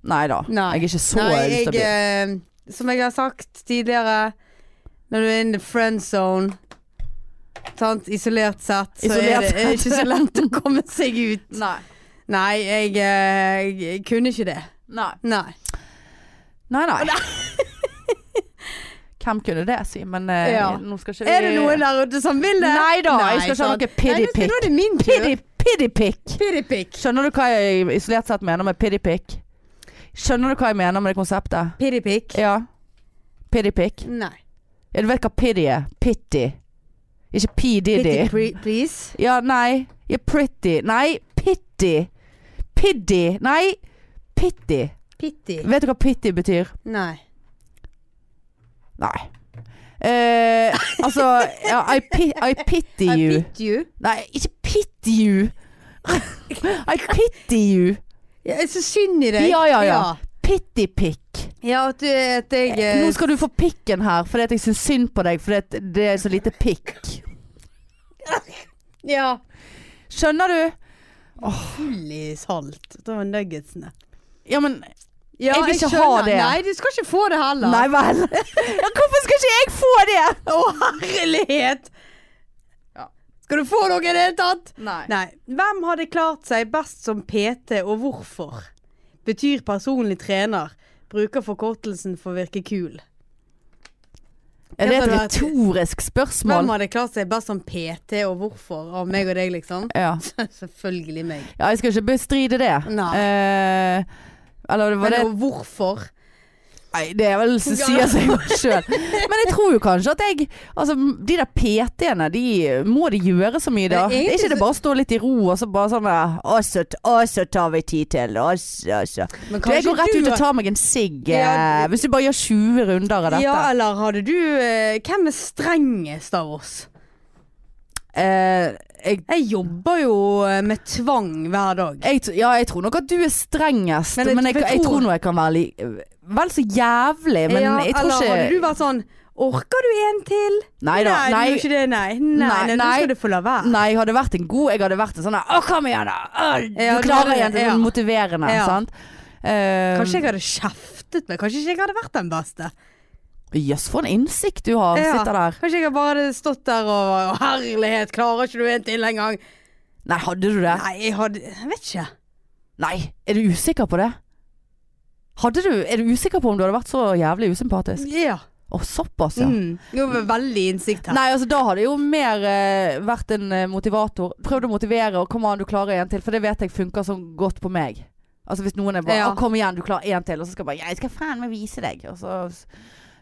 S1: Nei da.
S2: Nei.
S1: Jeg er ikke så
S2: Nei, jeg,
S1: ustabil.
S2: eh, som jeg har sagt tidligere, når du er in the friend zone sant? Isolert sett, så
S1: Isolert
S2: er det er ikke så lett å
S1: (laughs)
S2: komme seg ut.
S1: Nei.
S2: Nei, jeg, eh, jeg kunne ikke det.
S1: Nei.
S2: Nei.
S1: Nei, nei. Hvem kunne det si? Men eh,
S2: Ja.
S1: nå skal ikke vi
S2: Er det noen der ute som vil det?
S1: Nei da, jeg skal ikke ha
S2: sant.
S1: noe pity
S2: Nei, nå skal- Nå er det min tur.
S1: Piddy, piddipikk.
S2: Piddipikk.
S1: Skjønner du hva jeg isolert sett mener med piddipikk? Skjønner du hva jeg mener med det konseptet?
S2: Piddipikk.
S1: Ja. Piddy Pick?
S2: Nei.
S1: Ja, du vet hva piddy er? Pitty. Ikke P. Diddy.
S2: Pretty pre- please.
S1: Ja, nei. Ja, pretty. Nei, pitty. Piddy. Nei, pitty.
S2: Pitty.
S1: Vet du hva pitty betyr?
S2: Nei.
S1: Nei. Eh, altså ja, I, pi I pity
S2: I
S1: you.
S2: pit you.
S1: Nei, ikke pity you. (laughs) I pity you.
S2: Ja, jeg er så synd i deg.
S1: Ja, ja, ja. Pity pick.
S2: Ja, ja at, du, at jeg eh,
S1: Nå skal du få pikken her fordi at jeg syns synd på deg fordi at det er så lite pikk.
S2: Ja.
S1: Skjønner du?
S2: Full i salt. Det var nuggetsene.
S1: Ja, men
S2: Ja,
S1: Jeg vil ikke ha
S2: skjønner.
S1: det.
S2: Nei, du skal ikke få det heller.
S1: Nei vel. (laughs) Ja, hvorfor skal ikke jeg få det?
S2: Å, herlighet!
S1: Ja.
S2: Skal du få noe i det hele tatt?
S1: Nei.
S2: Nei. Hvem hadde klart seg best som PT, og hvorfor? Betyr personlig trener. Bruker forkortelsen for å virke kul.
S1: Er det
S2: Jeg
S1: et
S2: bare-
S1: retorisk
S2: Hvem
S1: spørsmål?
S2: hadde klart seg best som PT, og hvorfor? Av meg og deg, liksom? (laughs)
S1: Ja.
S2: Selvfølgelig meg.
S1: ja, jeg skal ikke bestride det.
S2: Nei.
S1: Eh, eller var
S2: Men
S1: det
S2: og hvorfor?
S1: Nei, det er vel som sier seg jo sjøl. Men jeg tror jo kanskje at jeg Altså, de der PT-ene, de må de gjøre så mye da?
S2: Men egentlig
S1: Er ikke det
S2: så-
S1: bare å stå litt i ro og så bare sånn der, Og så, og så tar vi tid til, og så, og så.
S2: Men
S1: Du, jeg går rett
S2: du
S1: ut og
S2: har-
S1: tar meg en sigg eh,
S2: Ja, du-
S1: hvis du bare gjør 20 runder av dette.
S2: Ja, eller hadde du eh, Hvem er strengest av oss?
S1: Eh, jeg,
S2: Jeg jobber jo eh, med tvang hver dag.
S1: jeg, tr- ja, jeg tror nok at du er strengest,
S2: Men
S1: men
S2: jeg-
S1: jeg, jeg,
S2: jeg tror-
S1: tror nå jeg kan være li, vel så jævlig, men
S2: ja,
S1: jeg tror
S2: Eller hadde
S1: ikke
S2: du vært sånn Orker du en til?
S1: Nei da.
S2: nei. du
S1: Nei,
S2: gjør ikke det, nei. Nei, nei,
S1: Nei,
S2: nei, nå
S1: nei.
S2: skal du få la være.
S1: Nei, jeg hadde vært en god Jeg hadde vært en sånn der, Å, kom igjen da! Å, du
S2: Ja, du
S1: klarer
S2: hadde-
S1: igjen til
S2: ja.
S1: sånn motiverende,
S2: Ja.
S1: sant? Eh,
S2: Kanskje jeg hadde kjeftet meg. Kanskje ikke jeg hadde vært den beste.
S1: Jøss, for en innsikt du har
S2: Ja.
S1: Sitter der
S2: Kanskje jeg hadde bare hadde stått der og «Å, Herlighet, klarer ikke du en til engang?
S1: Nei, hadde du det?
S2: Nei, jeg hadde Jeg vet ikke.
S1: Nei, er du usikker på det? Hadde du Er du usikker på om du hadde vært så jævlig usympatisk?
S2: Ja.
S1: Å, såpass, ja
S2: Mm. Jo, men veldig innsikt her.
S1: Nei, altså da hadde jeg jo mer eh, vært en eh, motivator Prøvd å motivere og kom an, du klarer en til For det vet jeg funker sånn godt på meg Altså hvis noen er bare,
S2: Ja.
S1: «Å, kom igjen, du klarer en til Og så skal jeg bare, jeg skal faen meg vise deg Og så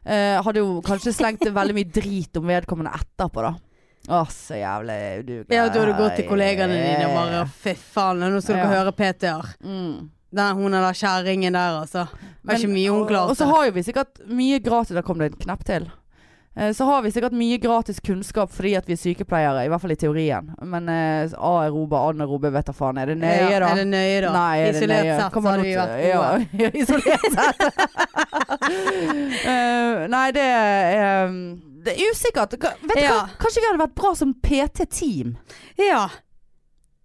S1: eh, hadde jo kanskje slengt veldig mye drit om vedkommende etterpå da Å, så jævlig du,
S2: Ja, da hadde du gått til kollegaene dine og bare Fy faen, nå skal dere
S1: Ja.
S2: høre PTR.
S1: mm.
S2: Den hun der kjerringen der, altså. Det var ikke
S1: Men-
S2: mye hun
S1: Og så
S2: klarte.
S1: har jo vi sikkert mye gratis Da kom det en knapp til. Eh, Så har vi sikkert mye gratis kunnskap fordi at vi er sykepleiere, i hvert fall i teorien. Men eh, aerobe, anaerobe, vet da faen. Er det nøye,
S2: Ja,
S1: da?
S2: Er det nøye, da?
S1: Nei, er det
S2: Isolert
S1: nøye?
S2: sett så
S1: Kommer nå
S2: hadde vi
S1: til-
S2: vært (laughs) gode.
S1: Ja, (laughs) isolert sett. Eh, nei, det er eh, Det er usikkert. Ka- Vet du
S2: Ja.
S1: hva? Kanskje vi hadde vært bra som PT-team?
S2: Ja.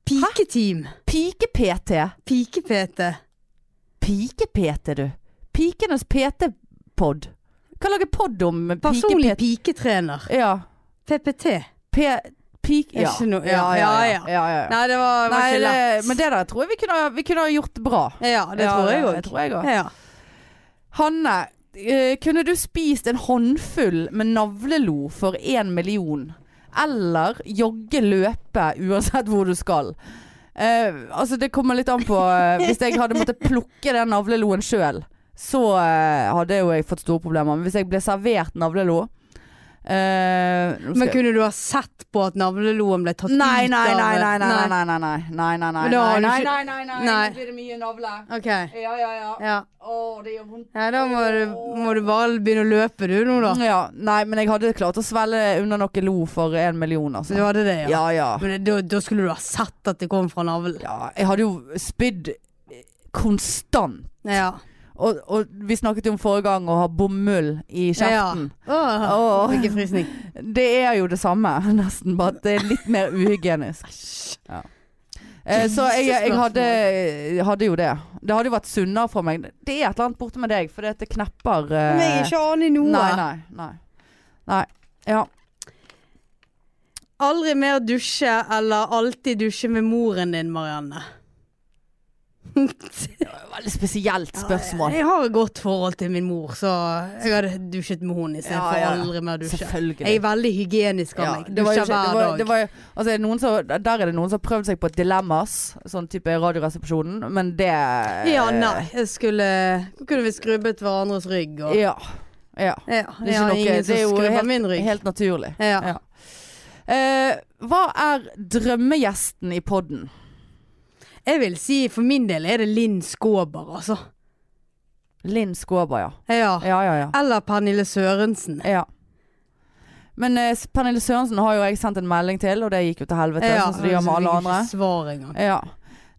S2: Piketeam.
S1: Pike-PT.
S2: Pike-PT.
S1: Pike-PT, du. Pikenes PT-pod. Kan lage pod om pike-PT.
S2: Personlig piketrener.
S1: Ja.
S2: PPT.
S1: P... Pik...
S2: Er
S1: Ja.
S2: ikke noe- ja, ja,
S1: ja, ja.
S2: Nei, det var, var
S1: Nei,
S2: ikke lett.
S1: det, men det der tror jeg vi kunne, vi kunne ha gjort bra.
S2: ja, det
S1: Ja,
S2: tror jeg
S1: det
S2: òg.
S1: tror jeg også.
S2: Ja.
S1: Hanne, eh, kunne du spist en håndfull med navlelo for én million? Eller jogge, løpe, uansett hvor du skal? Eh, altså det kommer litt an på eh, Hvis jeg hadde måttet plukke den navleloen sjøl, så eh, hadde jo jeg fått store problemer. Men hvis jeg ble servert navlelo eh, nå skal
S2: Men
S1: jeg-
S2: kunne du ha sett på at navleloen ble tatt
S1: Nei,
S2: ut
S1: nei,
S2: av
S1: nei, nei, nei, nei, nei, nei, nei, nei, nei,
S2: Men da har du
S1: nei,
S2: ikke-
S1: nei, nei, nei,
S2: Nei.
S1: nå blir det mye navle.
S2: OK.
S1: Ja, ja, ja.
S2: Ja.
S1: Å, det gjør vondt.
S2: ja, da må du, må du bare begynne å løpe du nå, da.
S1: Ja, nei, men jeg hadde klart å svelle under noe lo for en million,
S2: Så du
S1: altså.
S2: hadde det, ja.
S1: Ja, ja.
S2: Men det- da, da skulle du ha sett at det kom fra navlen.
S1: Ja, jeg hadde jo spydd konstant.
S2: Ja.
S1: Og, og vi snakket jo om forrige gang å ha bomull i kjeften.
S2: Åh,
S1: Åh.
S2: Fikk jeg frysning.
S1: Det er jo det samme, (laughs) nesten, bare at det er litt mer uhygienisk. Eh, så jeg, jeg hadde, hadde jo det. Det hadde jo vært sunnere for meg. Det er et eller annet borte med deg, fordi at det knepper eh,
S2: Men jeg er ikke aner noe.
S1: Nei, nei, nei. Nei. Ja.
S2: Aldri mer dusje eller alltid dusje med moren din, Marianne.
S1: Veldig spesielt spørsmål.
S2: Jeg har et godt forhold til min mor, så jeg hadde dusjet med
S1: Ja,
S2: henne istedenfor
S1: ja.
S2: aldri mer dusje. Jeg
S1: Selvfølgelig.
S2: er veldig hygienisk av
S1: Ja,
S2: meg.
S1: det var jo
S2: Dusjer
S1: ikke, det
S2: hver
S1: var, det
S2: dag.
S1: var, jo- altså, er det noen som, der er det noen som har prøvd seg på dilemmas, sånn type Radioresepsjonen, men det eh,
S2: Ja, nei. Jeg skulle Kunne vi skrubbet hverandres rygg og
S1: Ja. Ja.
S2: Ja,
S1: Det er, ikke noe,
S2: ingen
S1: det er
S2: som
S1: jo
S2: skrubber
S1: helt,
S2: min rygg.
S1: helt naturlig.
S2: ja.
S1: Ja. Eh, hva er drømmegjesten i podden?
S2: Jeg vil si for min del er det Linn Skåber, altså.
S1: Linn Skåber, ja.
S2: Ja.
S1: Ja, ja, ja.
S2: Eller Pernille Sørensen.
S1: ja. Men eh, Pernille Sørensen har jo jeg sendt en melding til, og det gikk jo til helvete.
S2: Ja,
S1: sånn som det gjør med
S2: så
S1: alle
S2: fikk jeg
S1: andre.
S2: ikke Svar engang.
S1: Ja.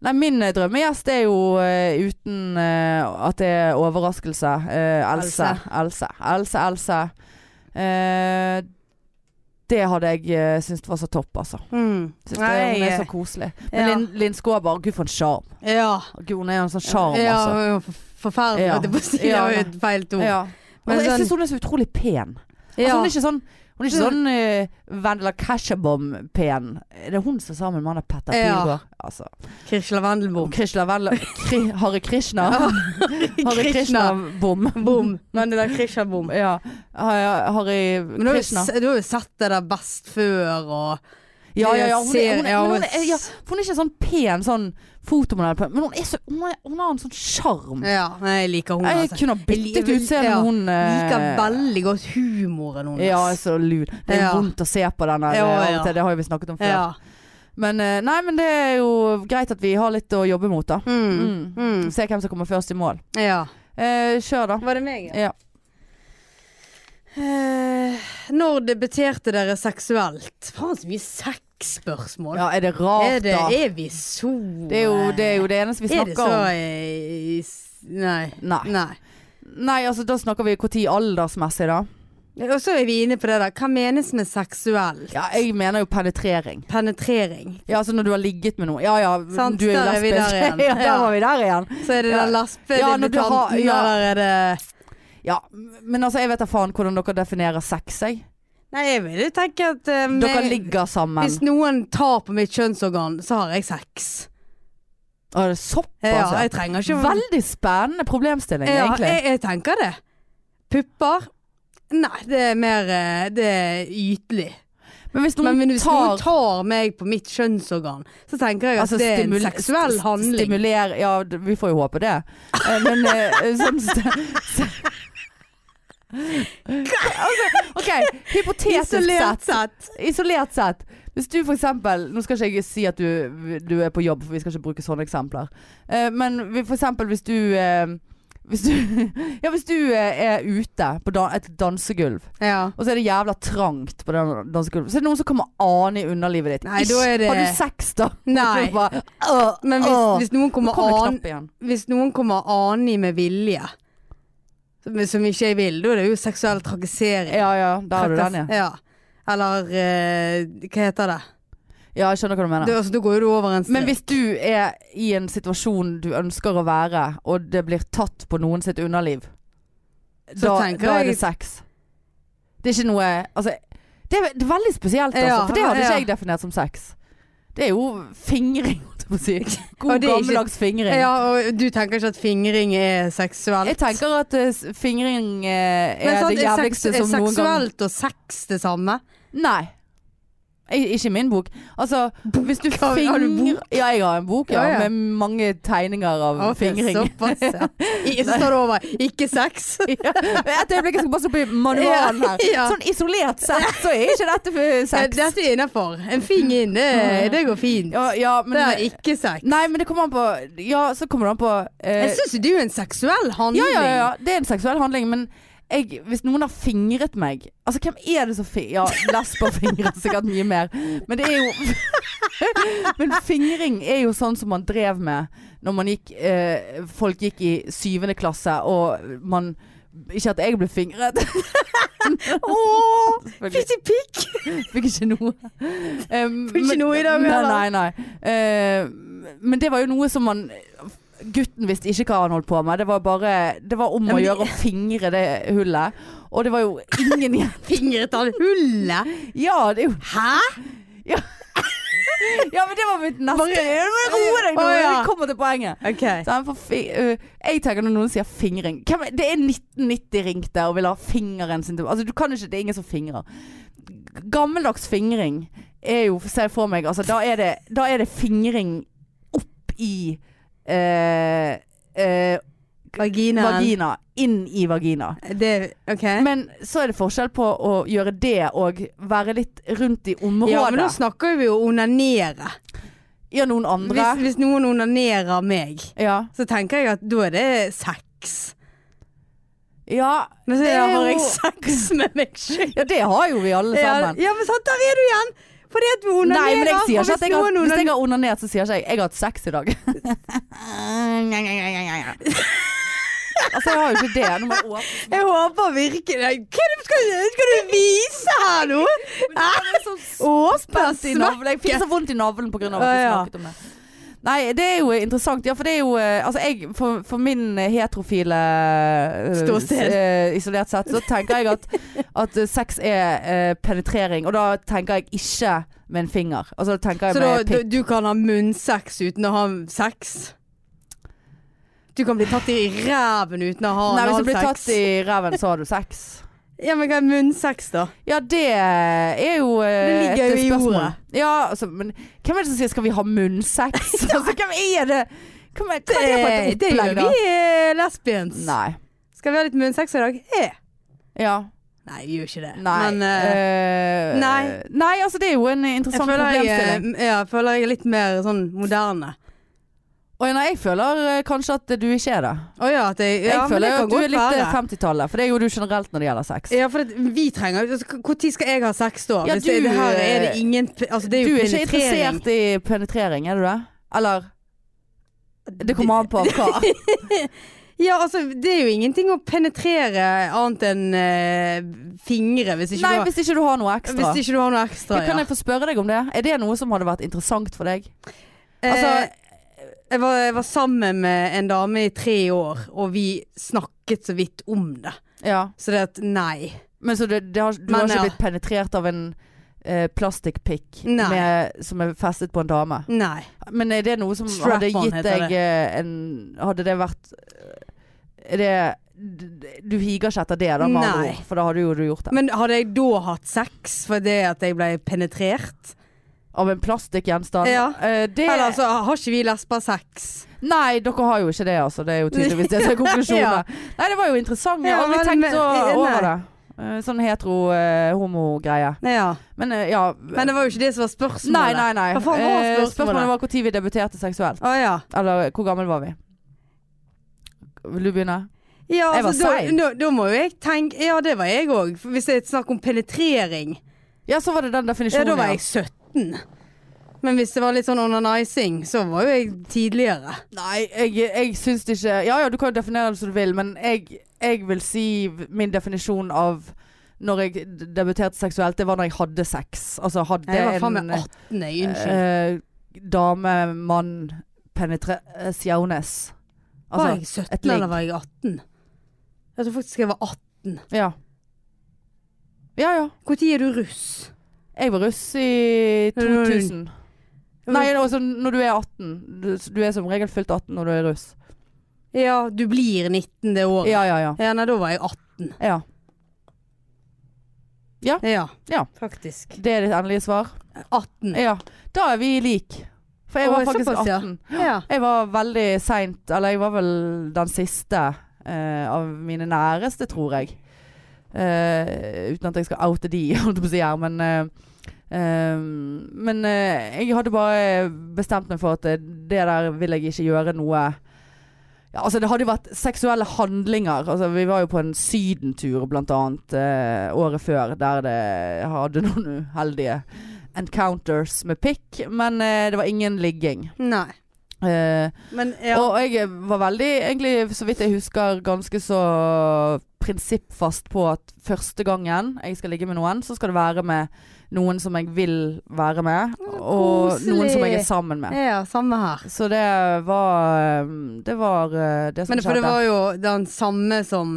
S1: Nei, min eh, drømmegjest er jo eh, uten eh, at det er overraskelse. eh, Else. Else, Else. Else. Eh, det hadde jeg uh, syntes var så topp, altså.
S2: Mm.
S1: Synes det,
S2: Nei,
S1: hun er så koselig. Men
S2: ja.
S1: Linn, Linn Skåber, gud for en sjarm.
S2: Ja.
S1: Gud, Hun er jo en sånn sjarm,
S2: ja,
S1: altså.
S2: hun er for- Forferdelig,
S1: Ja.
S2: holdt jeg på å si. Det
S1: Ja.
S2: var jo et feil ord.
S1: Ja.
S2: Men
S1: Altså, jeg
S2: sånn-
S1: syns hun er så utrolig pen. Altså,
S2: Ja. Mm.
S1: hun er ikke sånn hun er ikke sånn eh, Vendela Cashabom-pen. Er det hun som er sammen med han der Petter
S2: Ja.
S1: Pilgaard? Altså.
S2: Krishla
S1: Og
S2: Wendelbom.
S1: Krishna Vendela Kri, Hare Krishna. (laughs) Hare
S2: Krishna.
S1: Krishna-bom.
S2: Bom. Men det der Krishna Bom.
S1: Ja. Har- Harry
S2: Men du har, jo,
S1: Krishna.
S2: se- du har jo sett det der best før og
S1: Ja, ja, ja. Hun, er- hun, er-
S2: Ja,
S1: men hun,
S2: hun
S1: er- ja, for hun er ikke sånn pen sånn fotomodell, men hun, er så, hun, er, hun har en sånn sjarm.
S2: Ja, nei, jeg liker hun
S1: Jeg
S2: altså.
S1: kunne ha
S2: Jeg
S1: byttet
S2: li-
S1: utseende med
S2: ja,
S1: hun eh,
S2: Liker veldig godt humoren hennes.
S1: Ja, jeg er så lun. Det er jo
S2: Ja.
S1: vondt å se på den her.
S2: Ja,
S1: eh, av og
S2: ja.
S1: til, Det har jo vi snakket om før.
S2: ja.
S1: Men eh, nei, men det er jo greit at vi har litt å jobbe mot, da.
S2: Mm.
S1: Mm.
S2: Mm.
S1: Se hvem som kommer først i mål.
S2: ja.
S1: Eh, kjør, da.
S2: Var det meg?
S1: Ja.
S2: Eh, når debuterte dere seksuelt? Faen så mye sexspørsmål.
S1: ja. Er det rart,
S2: er, det,
S1: da?
S2: er vi så
S1: Det er, jo, det er jo det eneste vi
S2: Er det
S1: snakker
S2: så
S1: om.
S2: eh, s- Nei.
S1: Nei.
S2: Nei.
S1: Nei, altså da snakker vi når aldersmessig, da.
S2: Og så er vi inne på det der. Hva menes med seksuell?
S1: Ja, jeg mener jo penetrering.
S2: Penetrering.
S1: Ja, altså når du har ligget med noen. Ja ja,
S2: Sant,
S1: du er jo
S2: der er vi
S1: lesbisk.
S2: der
S1: (laughs)
S2: igjen.
S1: ja, der
S2: Ja.
S1: var vi der igjen.
S2: Så er det
S1: Ja.
S2: den
S1: Ja, når du har-
S2: laspedebutanten,
S1: ja.
S2: eller er det
S1: Ja, men altså jeg vet da faen hvordan dere definerer sex, jeg.
S2: Nei, jeg vil jo tenke at
S1: Dere
S2: eh, men-
S1: ligger sammen.
S2: Hvis noen tar på mitt kjønnsorgan, så har jeg sex.
S1: Å, det er såpass,
S2: Ja,
S1: ja.
S2: jeg trenger ikke
S1: Veldig spennende problemstilling,
S2: ja,
S1: egentlig.
S2: jeg, jeg tenker det. Pupper Nei, det er mer eh, Det er ytelig.
S1: Men hvis noen
S2: Men hvis
S1: tar
S2: noen tar meg på mitt kjønnsorgan, så tenker jeg at det er en
S1: stimul-
S2: Altså, seksuell
S1: st-
S2: handling.
S1: Stimuler Ja, d- vi får jo håpe det. Eh, Men eh,
S2: (laughs)
S1: sånn st- s- Altså, Ok, ok, hypotetisk
S2: Isolert
S1: sett.
S2: sett.
S1: Isolert sett. Hvis du for eksempel Nå skal ikke jeg si at du, du er på jobb, for vi skal ikke bruke sånne eksempler. Eh, Men vi- for eksempel hvis du eh, hvis du, (laughs) ja, hvis du eh, er ute på da, et dansegulv,
S2: Ja.
S1: og så er det jævla trangt på den dansegulvet, så er det noen som kommer ane i underlivet ditt.
S2: Nei, da er det-
S1: Har du sex, da? (laughs)
S2: Nei.
S1: Og du bare, «Åh,
S2: Men hvis,
S1: åh».
S2: hvis noen
S1: Nå
S2: kommer
S1: kom det
S2: an
S1: knapp igjen.
S2: Hvis noen kommer ani med vilje, som, som ikke jeg vil, da er det jo seksuell trakassering.
S1: Ja, ja, der har du den, ja.
S2: ja. Eller eh, hva heter det?
S1: Ja, jeg skjønner hva du
S2: Du,
S1: mener.
S2: altså, da går jo du over en strek.
S1: Men hvis du er i en situasjon du ønsker å være, og det blir tatt på noen sitt underliv,
S2: Så
S1: da,
S2: tenker
S1: da er det
S2: jeg-
S1: sex. Det er ikke noe Altså, det er, det er veldig spesielt, altså.
S2: Ja,
S1: for det hadde
S2: ja.
S1: ikke jeg definert som sex. Det er jo fingring, (laughs) holdt jeg på å si.
S2: Og
S1: God
S2: det er ikke-
S1: gammeldags fingring.
S2: Ja, og du tenker ikke at fingring er seksuelt?
S1: Jeg tenker at eh, s- fingring eh,
S2: Men
S1: er
S2: sant,
S1: det jævligste
S2: seks-
S1: som noen gang
S2: seksuelt og sex det samme?
S1: Nei. I- Ikke i min bok. Altså, hvis du
S2: Har- har du
S1: fingrer Ja, jeg har en bok ja,
S2: Ja, ja.
S1: med mange tegninger av
S2: Ok,
S1: fingring. (laughs)
S2: Såpass, ja. I, så står det over 'ikke sex'.
S1: Et øyeblikk, jeg skal bare stå på manualen her.
S2: Ja, ja.
S1: Sånn isolert sett så er ikke
S2: (laughs)
S1: dette for sex.
S2: Eh, Dette er innafor. En fing inn, det, det går fint.
S1: Ja, ja,
S2: Det er
S1: men,
S2: ikke sex.
S1: nei, men det kommer an på Ja, så kommer det an på eh,
S2: Jeg syns det er jo en seksuell handling.
S1: ja, ja, ja, ja, det er en seksuell handling, men jeg, hvis noen har fingret meg Altså, hvem er det som fi- Ja, lesber (laughs) fingrer sikkert mye mer, men det er jo (laughs) Men fingring er jo sånn som man drev med når man gikk eh, Folk gikk i syvende klasse, og man Ikke at jeg ble fingret. (laughs)
S2: Åh,
S1: Selvfølgelig.
S2: Fitti pikk!
S1: (laughs) Fikk ikke noe. Um,
S2: Fikk ikke
S1: men-
S2: noe i dag,
S1: Nei, nei,
S2: heller.
S1: nei. Eh, men det var jo noe som man Gutten visste ikke hva han holdt på med. Det var bare Det var om
S2: Ja,
S1: å
S2: men det-
S1: gjøre å fingre det hullet. Og det var jo ingen
S2: (laughs)
S1: igjen.
S2: Fingret han hullet?
S1: Ja, det er jo
S2: Hæ?
S1: Ja, men det var mitt neste Roe deg nå!
S2: Å, ja.
S1: Vi kommer til poenget.
S2: Ok.
S1: Så han får fi eh, jeg tenker når noen sier fingring Hvem, er- Det er 1990 ringte og vil ha fingeren sin til Altså, du kan ikke Det er ingen som fingrer. Gammeldags fingring er jo Se for meg, altså, da er det, da er det fingring opp i eh, eh,
S2: Vaginaen.
S1: vagina inn i vagina.
S2: Det, ok.
S1: Men så er det forskjell på å gjøre det og være litt rundt i området.
S2: ja,
S1: Ja,
S2: men nå snakker vi jo onanere.
S1: noen andre.
S2: Hvis, hvis noen onanerer meg,
S1: Ja.
S2: så tenker jeg at da er det sex.
S1: Ja,
S2: Men så
S1: det er
S2: har
S1: jo-
S2: jeg sex med meg sjøl.
S1: ja, det har jo vi alle
S2: Ja,
S1: sammen.
S2: ja, men sant, der er du igjen! Fordi at du onanerer.
S1: Nei, men jeg sier
S2: og
S1: ikke at jeg har,
S2: noen
S1: hvis
S2: onanerer-
S1: jeg har onanert, så sier ikke jeg 'jeg har hatt sex i
S2: (laughs)
S1: dag'. altså, jeg har jo ikke det. Nå må jeg åpne
S2: Jeg håper virkelig Hva er det du skal, skal du vise her nå? Hæ? Åpen
S1: vondt i navlen. Jeg fikk så vondt i navlen pga. at vi
S2: Å, ja.
S1: snakket om det. Nei, det er jo interessant. Ja, for det er jo eh, Altså, jeg For, for min heterofile eh,
S2: Ståsted.
S1: eh, isolert sett, så tenker jeg
S2: (laughs)
S1: at, at eh, sex er eh, penetrering. Og da tenker jeg ikke med en finger. Altså, da tenker jeg
S2: Så da,
S1: med
S2: du,
S1: pikk.
S2: du kan ha munnsex uten å ha sex? Du kan bli tatt i ræven uten å ha
S1: Nei, hvis du blir
S2: analsex?
S1: tatt i ræven, så har du sex.
S2: Ja, men hva er munnsex, da?
S1: Ja, det er jo eh,
S2: Det ligger
S1: et
S2: jo i
S1: spørsmål.
S2: ordet.
S1: Ja, altså, men hvem er det som sier 'skal vi ha
S2: (laughs)
S1: munnsex'? altså, hvem er det? Hvem er, hva er det for et
S2: det
S1: opplegg,
S2: gjør
S1: da?
S2: vi eh, lesbians.
S1: Nei.
S2: Skal vi ha litt munnsex i dag? Eh.
S1: Ja.
S2: Nei, vi gjør ikke det.
S1: Nei.
S2: Men eh,
S1: eh,
S2: nei.
S1: nei, altså det er jo en
S2: jeg,
S1: interessant
S2: føler jeg,
S1: problemstilling.
S2: eh, ja, jeg føler jeg er litt mer sånn moderne.
S1: Og nei, jeg føler eh, kanskje at du ikke er det.
S2: Å ja, at jeg, ja,
S1: jeg
S2: men det
S1: føler
S2: kan
S1: at du
S2: godt
S1: er litt
S2: være.
S1: eh, 50-tallet, for det er jo du generelt når det gjelder sex.
S2: Ja, for det, vi trenger altså, Når skal jeg ha sex da?
S1: Ja,
S2: Hvis det,
S1: du, eh,
S2: det her er det ingen pe- altså, Det er
S1: Du
S2: jo
S1: er ikke
S2: penetrering.
S1: interessert i penetrering, er du det? Eller Det kommer
S2: (laughs)
S1: an på hva.
S2: Ja, altså, det er jo ingenting å penetrere annet enn eh, fingre, hvis ikke,
S1: Nei,
S2: du,
S1: hvis ikke du har noe
S2: har,
S1: ekstra.
S2: hvis ikke du har noe ekstra.
S1: Ja, kan jeg få spørre deg om det? Er det noe som hadde vært interessant for deg? altså-
S2: eh, jeg, var, jeg var sammen med en dame i tre år, og vi snakket så vidt om det.
S1: Ja.
S2: Så det at nei.
S1: Men så det, det har, du
S2: Men,
S1: har ikke
S2: ja.
S1: blitt penetrert av en eh, plastikkpikk
S2: Nei.
S1: med- som er festet på en dame?
S2: Nei.
S1: Men er det noe som
S2: Strap-on
S1: hadde gitt
S2: heter
S1: deg eh, en Hadde det vært eh, Er det d- Du higer ikke etter det, da, med andre
S2: Nei.
S1: ord. For da hadde jo du gjort det.
S2: Men hadde jeg da hatt sex fordi at jeg ble penetrert?
S1: Av en plastikkgjenstand.
S2: Ja.
S1: Eh, det
S2: Eller altså, har ikke vi lesber sex?
S1: Nei, dere har jo ikke det, altså. Det er jo tydeligvis det som er konklusjonen.
S2: (laughs) Ja.
S1: Nei, det var jo interessant. Jeg har
S2: Ja,
S1: aldri
S2: men-
S1: tenkt
S2: men-
S1: så,
S2: eh, nei.
S1: over det. Eh, Sånn hetero-homo-greie.
S2: Ja.
S1: Men eh, ja
S2: Men det var jo ikke det som var spørsmålet.
S1: Nei, nei, nei.
S2: Hva faen var
S1: Eh,
S2: spørsmålet?
S1: spørsmålet var når vi debuterte seksuelt.
S2: Å ja.
S1: Eller eh, hvor gammel var vi? Vil du begynne?
S2: ja
S1: Jeg var
S2: altså, da-
S1: sein.
S2: Da, da må jo jeg tenke Ja, det var jeg òg. Hvis det er et snakk om penetrering,
S1: Ja, så var det den
S2: ja,
S1: definisjonen.
S2: da var jeg 17. Men hvis det var litt sånn onanizing, så var jo jeg tidligere.
S1: Nei, jeg, jeg syns det ikke Ja ja, du kan jo definere det som du vil, men jeg, jeg vil si v- min definisjon av når jeg d- debuterte seksuelt, det var når jeg hadde sex. Altså hadde
S2: Jeg var faen
S1: en
S2: meg 18, jeg. Unnskyld.
S1: eh, dame, mann, penetrasjones.
S2: var
S1: Altså,
S2: jeg 17,
S1: et ligg.
S2: eller var jeg 18? Jeg tror faktisk jeg var 18.
S1: ja. Ja ja.
S2: Når er du russ?
S1: Jeg var russ i
S2: Når du var
S1: 2000. Nei, altså når du er 18. Du, du er som regel fylt 18 når du er russ.
S2: Ja, du blir 19 det året. Ja,
S1: Ja ja ja.
S2: nei, da var jeg 18.
S1: ja.
S2: Ja.
S1: Ja.
S2: Faktisk.
S1: Det er ditt endelige svar?
S2: 18.
S1: Ja, da er vi lik. For jeg
S2: Mm. Å,
S1: var
S2: er
S1: faktisk
S2: såpass, ja.
S1: 18.
S2: Ja.
S1: Jeg var veldig seint, eller jeg var vel den siste eh, av mine næreste, tror jeg. Eh, uten at jeg skal oute de, (laughs) holdt jeg på å si her, men eh, eh, Men eh, jeg hadde bare bestemt meg for at eh, det der vil jeg ikke gjøre noe ja, altså Det hadde jo vært seksuelle handlinger. Altså, vi var jo på en sydentur blant annet eh, året før, der det hadde noen uheldige encounters med pikk. Men eh, det var ingen ligging.
S2: Nei.
S1: Eh,
S2: Men ja.
S1: og jeg var veldig, egentlig, så vidt jeg husker, ganske så prinsippfast på at første gangen jeg skal ligge med noen, så skal det være med noen som jeg vil være med, og
S2: koselig.
S1: noen som jeg er sammen med.
S2: Ja, samme her.
S1: Så det var um, Det var uh, det som
S2: Men det, for
S1: skjedde.
S2: det var jo den samme som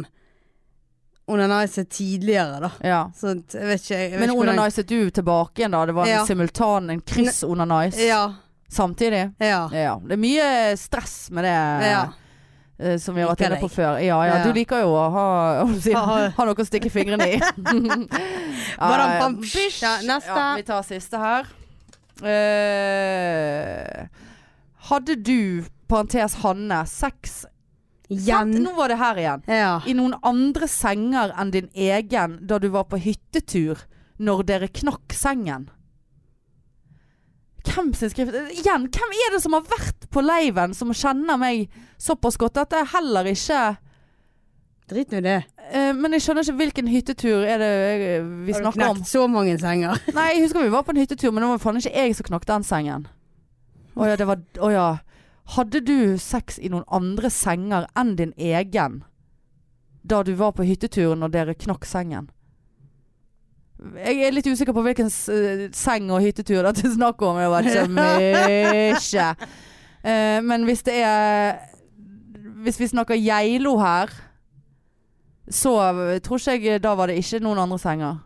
S2: Onanize tidligere, da.
S1: ja.
S2: Så at jeg vet ikke, jeg vet
S1: Men
S2: ikke hvordan-
S1: onaniset du tilbake igjen, da? Det var en
S2: Ja.
S1: simultan, en kryss-onanice
S2: Ja.
S1: samtidig?
S2: Ja.
S1: Ja. Det er mye stress med det
S2: ja.
S1: eh, som vi har vært
S2: Liker
S1: inne på
S2: deg.
S1: før. Ja, ja,
S2: Ja.
S1: du liker jo å ha, (laughs) ha,
S2: Ha-
S1: ha noe å stikke fingrene (laughs) i.
S2: Badam,
S1: Ja,
S2: bam, psh. Ja, neste.
S1: Ja, vi tar siste her. Eh, hadde du, parentes Hanne, sex Sant?
S2: Igjen.
S1: Nå var det her igjen.
S2: Ja.
S1: I noen andre senger enn din egen da du var på hyttetur, når dere knakk sengen. Hvem sin skrift Igjen, hvem er det som har vært på leiven som kjenner meg såpass godt at jeg heller ikke
S2: Drit nå i det.
S1: eh, Men jeg skjønner ikke hvilken hyttetur er det eh, vi
S2: Har du
S1: snakker om.
S2: knekt så mange senger?
S1: Nei, jeg husker vi var på en hyttetur, men det var faen ikke jeg som knakk den sengen. Å ja, det var Å ja. Hadde du sex i noen andre senger enn din egen da du var på hytteturen og dere knakk sengen? Jeg er litt usikker på hvilken s eh, seng og hyttetur det er snakk om. Det var ikke så mye. Eh, men hvis det er Hvis vi snakker Geilo her, så eh, tror ikke jeg Da var det ikke noen andre senger.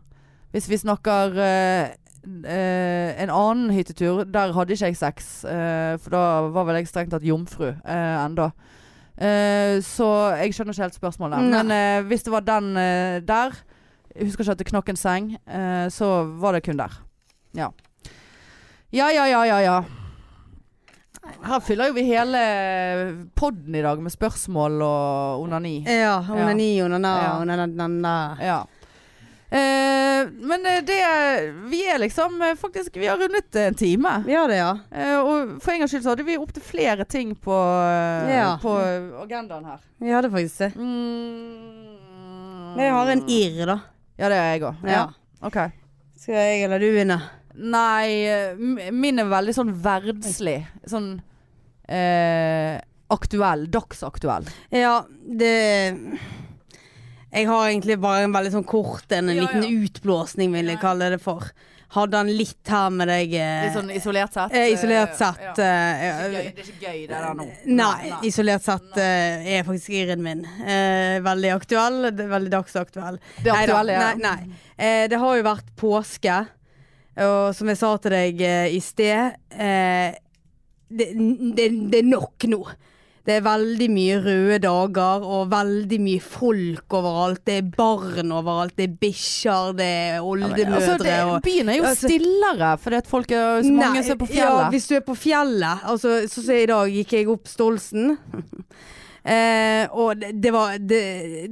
S1: Hvis vi snakker eh, eh, en annen hyttetur, der hadde ikke jeg sex. eh, for da var vel jeg strengt tatt jomfru uh, enda. Eh, så jeg skjønner ikke helt spørsmålet.
S2: Nei.
S1: Men eh, hvis det var den eh, der Jeg husker ikke at det knakk en seng. eh, så var det kun der. Ja. Ja, ja, ja, ja. ja. Her fyller jo vi hele eh, podden i dag med spørsmål og onani.
S2: (laughs) Ja. Onani, onana,
S1: Ja.
S2: onanana.
S1: Ja. Eh, men eh, det Vi er liksom eh, faktisk Vi har rundet eh, en time.
S2: Vi har det, ja.
S1: Eh, og for en gangs skyld så hadde vi opptil flere ting på, eh,
S2: Ja.
S1: på eh, agendaen her.
S2: Vi har det faktisk det.
S1: Mm.
S2: Men jeg har en irr, da.
S1: Ja, det er jeg òg. Ja.
S2: Ja.
S1: OK.
S2: Skal jeg eller du begynne?
S1: Nei, eh, m- min er veldig sånn verdslig. Sånn eh, aktuell. Dagsaktuell.
S2: Ja, det Jeg har egentlig bare en veldig sånn kort en, en
S1: Ja,
S2: liten
S1: ja.
S2: utblåsning, vil jeg kalle det for. Hadde han litt her med deg eh,
S1: Litt sånn isolert sett.
S2: eh, isolert
S1: eh,
S2: sett.
S1: ja.
S2: eh,
S1: Det er ikke gøy, det er ikke gøy, det der nå.
S2: Nei, isolert sett eh, er faktisk irren min. Eh, veldig aktuell, det er veldig dagsaktuell.
S1: Det
S2: Neida,
S1: aktuelle er
S2: Nei, nei. Eh, det har jo vært påske, og som jeg sa til deg eh, i sted, eh, det, det, det er nok nå. Det er veldig mye røde dager og veldig mye folk overalt. Det er barn overalt, det er bikkjer, det er oldemødre
S1: Altså, det-
S2: og
S1: byen er jo
S2: altså-
S1: stillere, fordi at folk er så mange
S2: Nei,
S1: som er på fjellet.
S2: Ja, hvis du er på fjellet. Altså, så som jeg i dag, gikk jeg opp Stolsen. (laughs) eh, og det, det, var, det,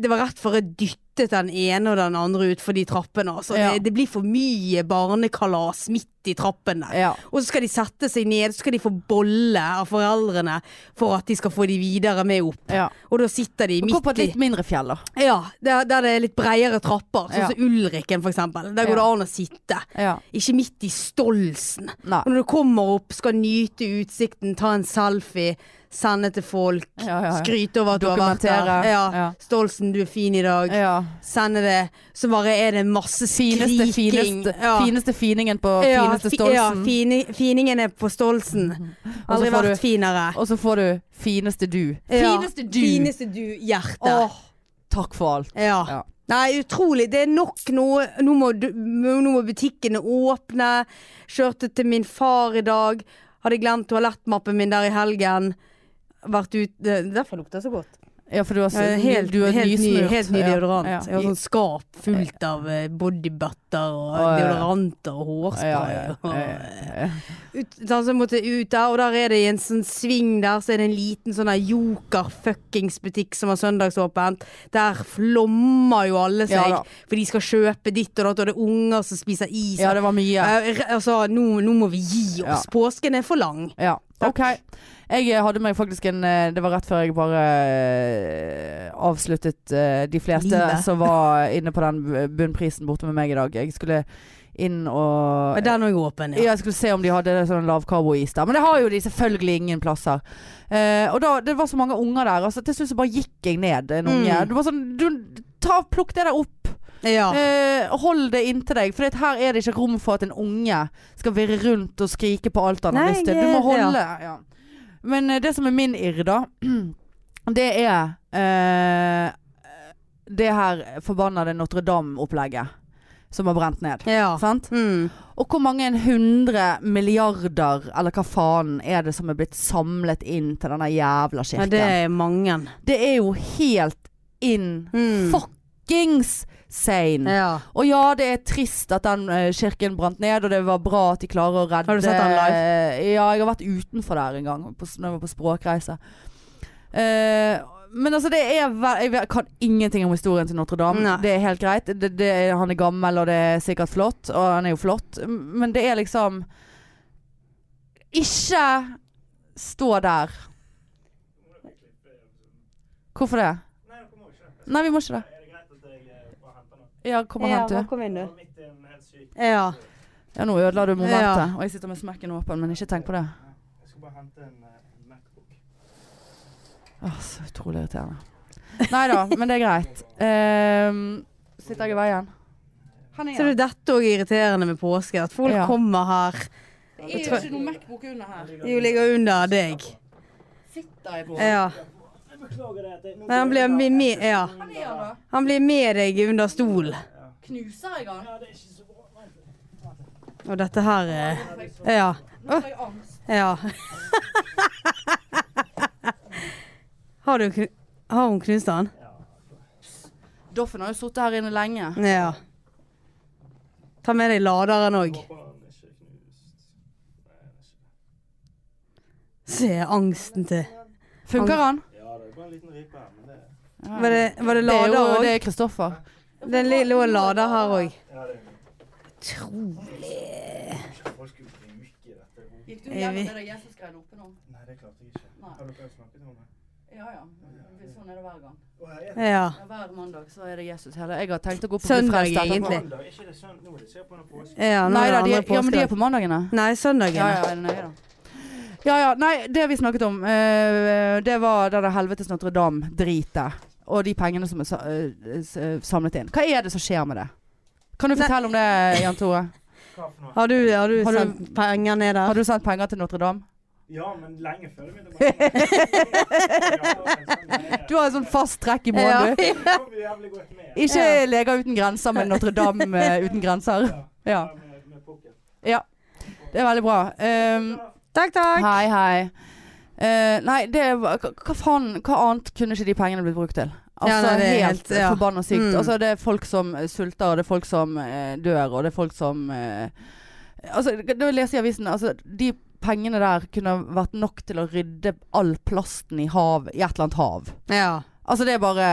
S2: det var rett før jeg dyttet den ene og den andre utfor de trappene. Altså.
S1: Ja.
S2: Det, det blir for mye barnekalas midt i trappen der.
S1: ja.
S2: Og så skal de sette seg ned, så skal de få bolle av foreldrene for at de skal få de videre med opp.
S1: ja.
S2: Og da sitter de
S1: Og Gå på
S2: midt
S1: et
S2: i
S1: litt mindre fjell, da.
S2: Ja, der, der det er litt bredere trapper, sånn
S1: Ja.
S2: som Ulriken for eksempel. Der går det
S1: Ja.
S2: an å sitte.
S1: Ja.
S2: Ikke midt i Stolsen.
S1: Nei.
S2: Og når du kommer opp, skal nyte utsikten, ta en selfie, sende til folk,
S1: Ja, ja, ja.
S2: skryte over at du har vært der.
S1: Dokumentere.
S2: Ja.
S1: Ja.
S2: Stolsen, du er fin i dag.
S1: Ja.
S2: Sende det. Så bare er det masse
S1: Fineste,
S2: skriking.
S1: fineste,
S2: Ja.
S1: fineste finingen på
S2: Ja,
S1: fineste
S2: fi-
S1: stolsen.
S2: Ja, fini, finingen er på Stolsen.
S1: Og så
S2: Aldri
S1: får
S2: vært
S1: du-
S2: finere.
S1: Og så får du fineste du.
S2: Ja.
S1: Fineste du!
S2: Fineste du, hjerte.
S1: Åh, takk for alt.
S2: Ja.
S1: Ja.
S2: Nei, utrolig. Det er nok noe. Nå må, du- nå må butikkene åpne. Kjørte til min far i dag. Hadde glemt toalettmappen min der i helgen. Vært ut det- Derfor lukter det så godt.
S1: Ja, for du har,
S2: Ja, helt,
S1: du er
S2: helt, ny,
S1: nysmurt.
S2: helt ny deodorant.
S1: Ja.
S2: Jeg har sånn skap fullt av eh, bodybutter og
S1: Å, ja, ja.
S2: deodoranter og hårspray.
S1: Ja, ja, ja,
S2: og-
S1: ja.
S2: ut, sånn, så måtte jeg ut der, og der er det i en sånn sving der, så er det en liten sånn der joker-fuckings-butikk som har søndagsåpent. Der flommer jo alle
S1: Ja
S2: seg,
S1: da.
S2: for de skal kjøpe ditt og datt, og det er unger som spiser is.
S1: ja, det var mye.
S2: Eh, re- altså, nå, nå må vi gi oss.
S1: Ja.
S2: Påsken er for lang.
S1: Ja,
S2: Takk.
S1: ok Jeg eh, hadde meg faktisk en eh, Det var rett før jeg bare eh, avsluttet eh, de fleste
S2: Livet.
S1: som var inne på den bu- bunnprisen borte med meg i dag Jeg skulle inn og
S2: Men den er jo åpen,
S1: ja,
S2: ja.
S1: jeg skulle se om de hadde sånn lavkarbois der. Men det har jo de selvfølgelig ingen plasser. Eh, og da, det var så mange unger der. Altså, til slutt så bare gikk jeg ned en unge.
S2: Mm.
S1: Det var sånn, du, ta, plukk det der opp.
S2: ja.
S1: Eh, hold det inntil deg. For her er det ikke rom for at en unge skal virre rundt og skrike på alt han har
S2: Nei,
S1: lyst til.
S2: jeg
S1: Du må
S2: er- ja.
S1: holde. Ja. Men eh, det som er min irr, da, (clears throat) det er eh, det her forbannede Notre-Dame-opplegget som har brent ned.
S2: ja.
S1: Sant?
S2: Mm.
S1: Og hvor mange hundre milliarder, eller hva faen, er det som er blitt samlet inn til denne jævla
S2: ja,
S1: kirken?
S2: det
S1: det...
S2: er mange.
S1: er jo helt in
S2: Mm.
S1: fuckings sane.
S2: Ja.
S1: Og ja, det er trist at den eh, kirken brant ned, og det var bra at de klarer å redde
S2: Har du sett den live?
S1: Eh, Ja, jeg har vært utenfor der en gang, på, s- når jeg var på språkreise. Eh, men altså, det er vel Jeg vet- kan ingenting om historien til Notre-Dame.
S2: Nei.
S1: Det er helt greit. Det, det, er- han er gammel, og det er sikkert flott. Og han er jo flott. Men det er liksom Ikke stå der. Hvorfor det? Nei, vi må ikke det. eh, Ja, kom og
S2: Ja,
S1: hent,
S2: bare
S1: du.
S2: kom inn, du. Ja.
S1: Ja, nå ødela du momentet.
S2: Ja.
S1: Og jeg sitter med smekken åpen, men ikke tenk på det.
S3: Jeg skal bare hente en eh, Macbook.
S1: Åh, så utrolig
S2: (laughs)
S1: irriterende. Nei da, men det er greit. Ehm, sitter jeg i veien? Han
S2: Så det er dette òg irriterende med påske. At folk
S1: Ja.
S2: kommer her.
S1: Det er jo ikke noe Macbook under her.
S2: De ligger under deg.
S1: Sitter jeg på?
S2: Ja.
S3: Jeg beklager det. at jeg- nå
S2: Men han blir med, med ja.
S1: Han er han da.
S2: Han blir med deg under stol.
S1: Knuser jeg han?
S3: Ja, det er ikke så bra. Vent litt.
S2: Og dette her eh, Ja.
S1: Nå får jeg angst.
S2: Ja. (laughs) Har du kn- Har hun knust han?
S1: Doffen har jo sittet her inne lenge.
S2: Ja. Ta med deg laderen òg.
S3: Håper han ikke er knust. Nei, han er ikke det.
S2: Se angsten til.
S1: Funker han?
S3: Ja, det er bare en liten ripe her, men det
S2: Var det, var det
S1: Det er
S2: lader
S1: jo
S2: òg?
S1: det er Kristoffer.
S2: Den li- lå en lader her òg.
S3: Ja, det er
S2: Utrolig.
S3: ikke folk skulle bruke dette. ordet.
S1: Gikk du
S2: gjennom det
S1: der Jesus-greiene oppe nå?
S3: Nei, det klarte jeg ikke.
S1: Nei.
S3: Har du prøvd å snakke til henne?
S1: Ja ja. Sånn er det hver gang.
S3: Å, jeg er-
S2: Ja.
S1: Hver mandag så er det Jesus hele. Jeg har tenkt å gå på
S2: Søndag,
S1: Gudfrelst etterpå.
S2: egentlig.
S3: Mandag, er ikke det søndag? Nå er det- se på den påsken.
S2: ja nå
S1: Nei
S2: er
S1: da, de
S2: det
S1: er, ja, men de
S2: andre
S1: er på mandagene.
S2: Nei, søndagen.
S1: Ja, ja, er det nøye da? Ja, ja, nei, det vi snakket om, eh, det var det der helvetes Notre-Dame-dritet. Og de pengene som er sa- eh, s- eh, samlet inn. Hva er det som skjer med det? Kan du
S2: Nei.
S1: fortelle om det, Jan Tore?
S3: Hva for noe?
S2: Har du, har du
S1: Har du-
S2: sendt penger ned der?
S1: Har du sendt penger til Notre-Dame?
S3: Ja, men lenge før det begynte å brenne.
S1: Du har en sånn fast trekk i
S2: Ja.
S1: måneden, du.
S3: Det kom jo jævlig godt med.
S1: Ikke Leger uten grenser, men Notre-Dame eh, uten grenser.
S3: Ja,
S1: Ja.
S3: Med, med pocket.
S1: Det er veldig bra. Ehm,
S2: Takk, takk.
S1: hei, hei. Eh, nei, det var hva, hva faen Hva annet kunne ikke de pengene blitt brukt til? Altså
S2: nei, det er
S1: helt,
S2: helt- ja.
S1: forbanna sykt.
S2: Mm.
S1: Altså, det er folk som eh, sulter, og det er folk som eh, dør, og det er folk som eh, Altså, det det leser jeg i avisen. Altså, de pengene der kunne vært nok til å rydde all plasten i hav, i et eller annet hav.
S2: Ja.
S1: Altså, det er bare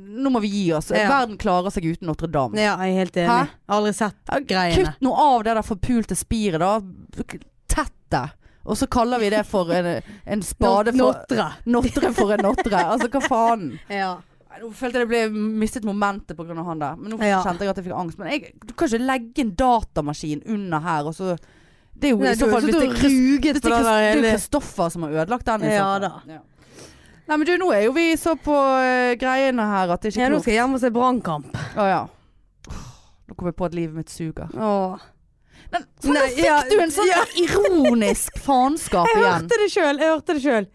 S1: Nå må vi gi oss.
S2: Ja.
S1: Verden klarer seg uten Notre-Dame.
S2: ja, jeg er helt enig.
S1: Hæ?
S2: Aldri sett
S1: Ja,
S2: greiene.
S1: Kutt noe av det der forpulte spiret, da. Tett det. Og så kaller vi det for en, en spade for
S2: Notre.
S1: Notre for en notre. Altså, hva faen?
S2: Ja.
S1: Nei, Nå følte jeg det ble mistet momentet pga. han der. Men nå
S2: Ja.
S1: kjente jeg at jeg fikk angst. Men jeg, du kan ikke legge en datamaskin under her, og så Det er jo
S2: Nei,
S1: i
S2: du
S1: så
S2: har
S1: fall
S2: jo
S1: hvis det
S2: sittet
S1: er
S2: og
S1: Krist-
S2: ruget
S1: hvis
S2: på
S1: det er
S2: den
S1: Krist-
S2: der
S1: det er jo
S2: hele
S1: Kristoffer som har ødelagt den. i så
S2: Ja
S1: fall.
S2: da.
S1: Ja. Nei, men du, nå er jo vi så på eh, greiene her at det ikke
S2: Ja,
S1: er
S2: nå
S1: klokt.
S2: skal jeg hjem og se Brannkamp.
S1: Å ja. Nå kom jeg på at livet mitt suger.
S2: Åh.
S1: Men faen, nå
S2: Nei,
S1: fikk
S2: ja,
S1: du en sånn
S2: ja.
S1: ironisk faenskap
S2: Jeg
S1: igjen.
S2: hørte det sjøl! Jeg hørte det sjøl.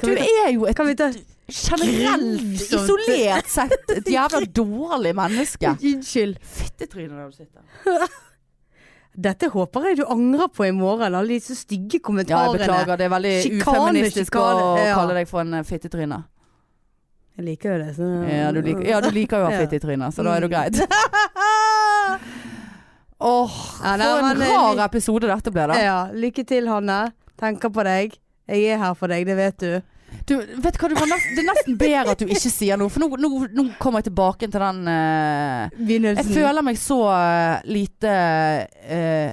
S1: Du
S2: kan vi ta,
S1: er jo et
S2: kan vi ta
S1: generelt,
S2: Grusomt.
S1: isolert sett, et jævla dårlig
S2: (laughs)
S1: menneske.
S2: Unnskyld.
S1: Fittetryne der du sitter.
S2: Dette håper jeg du angrer på i morgen. Alle disse stygge
S1: Ja, jeg
S2: kommentarene.
S1: beklager. Det er veldig
S2: Sjikane,
S1: ufeministisk å
S2: sjikane, ja.
S1: kalle deg for en eh, fittetryne.
S2: jeg liker jo det. Så...
S1: Ja, du liker, ja, du liker jo å ha
S2: Mm. Ja. Mm.
S1: fittetryne, så da er det jo
S2: (laughs)
S1: greit. Åh,
S2: Ja, det
S1: for
S2: var
S1: en
S2: en
S1: rar episode dette ble, da.
S2: Ja, lykke til, Hanne. Tenker på deg. Jeg er her for deg, det vet du.
S1: Du, vet du hva, du var nest, det er nesten bedre at du ikke sier noe, for nå, nå, nå kommer jeg tilbake til den eh, Jeg
S2: Begynnelsen.
S1: føler meg så eh, lite eh,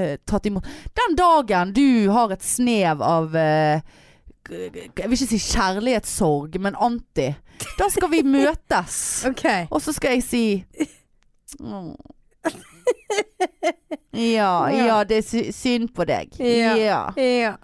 S1: eh, tatt imot. Den dagen du har et snev av eh, k- k- Jeg vil ikke si kjærlighetssorg, men anti. Da skal vi møtes.
S2: OK.
S1: Og så skal jeg si «Åh». Ja, ja, det er sy- synd på deg.
S2: Ja.
S1: ja.
S2: Ja.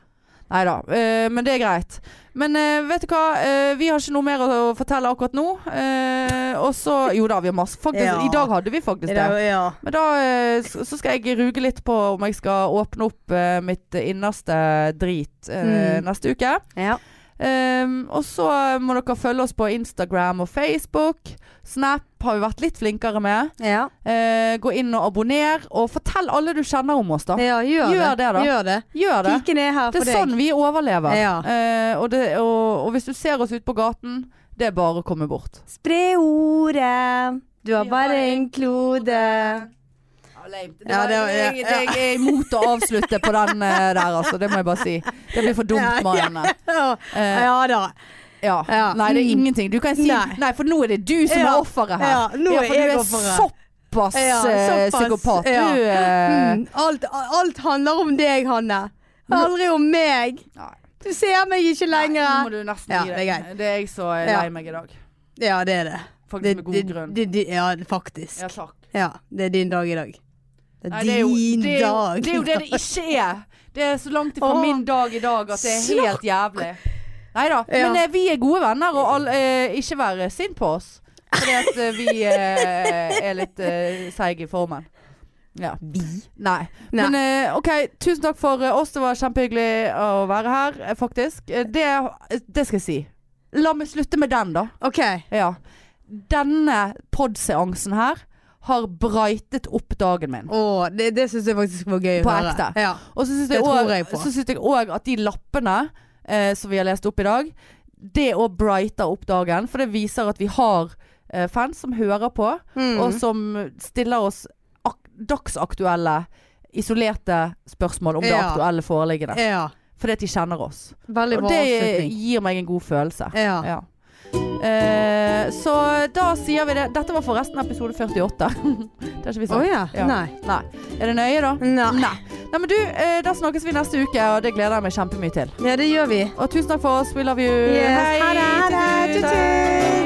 S1: Nei da, eh, men det er greit. Men eh, vet du hva, Eh, vi har ikke noe mer å å fortelle akkurat nå. Eh, og så Jo da, vi har masse. Faktisk,
S2: Ja.
S1: I dag hadde vi faktisk
S2: Er
S1: det.
S2: det- ja.
S1: Men da eh, s- så skal jeg ruge litt på om jeg skal åpne opp eh, mitt innerste drit eh,
S2: Mm.
S1: neste uke.
S2: Ja.
S1: Ehm, og så må dere følge oss på Instagram og Facebook. Snap har vi vært litt flinkere med.
S2: ja.
S1: Eh, gå inn og abonner, og fortell alle du kjenner om oss, da.
S2: Ja, gjør,
S1: Gjør det, da.
S2: Gjør det.
S1: Gjør det.
S2: Piken er her
S1: Det
S2: for
S1: er sånn
S2: deg.
S1: vi overlever.
S2: Ja.
S1: Eh, og, det, og, og hvis du ser oss ute på gaten, det er bare å komme bort.
S2: Spre ordet. Du har
S1: Vi har
S2: bare
S1: bare
S2: en klode.
S1: Det
S2: Ja,
S1: var,
S2: det var- ja,
S1: jeg, jeg, jeg er imot å avslutte på den eh, der, altså. Det må jeg bare si. Det blir for dumt,
S2: Ja, ja.
S1: Marianne.
S2: Ja,
S1: Eh,
S2: ja da.
S1: Ja.
S2: Ja.
S1: Nei, det er
S2: Mm.
S1: ingenting. Du kan si
S2: Nei.
S1: nei, for nå er det du som
S2: Ja.
S1: er offeret her.
S2: Ja, nå er
S1: for
S2: jeg eh,
S1: du er
S2: offeret.
S1: såpass,
S2: Ja,
S1: eh,
S2: såpass.
S1: psykopat.
S2: Ja.
S1: Du eh,
S2: Mm. Alt, alt handler om deg, Hanne. Aldri om meg.
S1: Nei.
S2: Du ser meg ikke
S1: Nei, nå
S2: lenger.
S1: må du nesten
S2: Ja,
S1: gi
S2: det
S1: deg.
S2: er greit.
S1: Det er jeg så er
S2: Ja.
S1: lei meg i dag.
S2: Ja, det er det.
S1: Faktisk med
S2: det, det,
S1: god grunn.
S2: det, det ja, faktisk.
S1: Ja, takk.
S2: Ja, det er din dag i dag. Det er
S1: Nei, det, er jo,
S2: din
S1: det, er jo,
S2: dag.
S1: det er jo det det ikke er. Det er så langt ifra
S2: Åh,
S1: min dag i dag at det er helt jævlig. Nei da.
S2: Ja.
S1: Men eh, vi er gode venner, og all, eh, ikke vær sint på oss. Fordi at eh, vi eh, er litt eh, seige i formen. Ja.
S2: Vi.
S1: Nei.
S2: Nei.
S1: Men eh, OK, tusen takk for eh, oss. Det var kjempehyggelig å være her, eh, faktisk. Eh, Det, det skal jeg si. La meg slutte med den, da.
S2: OK.
S1: Ja. Denne podseansen her har brightet opp dagen min.
S2: Å, det, det syns jeg faktisk var gøy å
S1: På
S2: høre.
S1: ekte.
S2: Ja.
S1: Og så syns
S2: Det
S1: jeg
S2: tror
S1: også-
S2: jeg på.
S1: så syns jeg òg at de lappene eh, som vi har lest opp i dag, det òg brighter opp dagen. For det viser at vi har eh, fans som hører på,
S2: Mm.
S1: og som stiller oss ak dagsaktuelle, isolerte spørsmål om det
S2: Ja.
S1: aktuelle foreliggende.
S2: ja.
S1: Fordi at de kjenner oss.
S2: Veldig
S1: Og
S2: bra
S1: det
S2: avslutning.
S1: gir meg en god følelse.
S2: Ja.
S1: Ja. Eh, så da sier vi det. Dette var forresten episode 48. (laughs) det har ikke vi
S2: Å
S1: sagt.
S2: ja.
S1: Ja.
S2: Nei.
S1: Nei. Er det nøye, da?
S2: Nei.
S1: Nei. Nei, men du, eh, da snakkes vi neste uke, og det gleder jeg meg kjempemye til.
S2: Ja, det gjør vi.
S1: Eh, Og tusen takk for oss. We love you.
S2: Yes. Ha det, ha det. Tut, tut.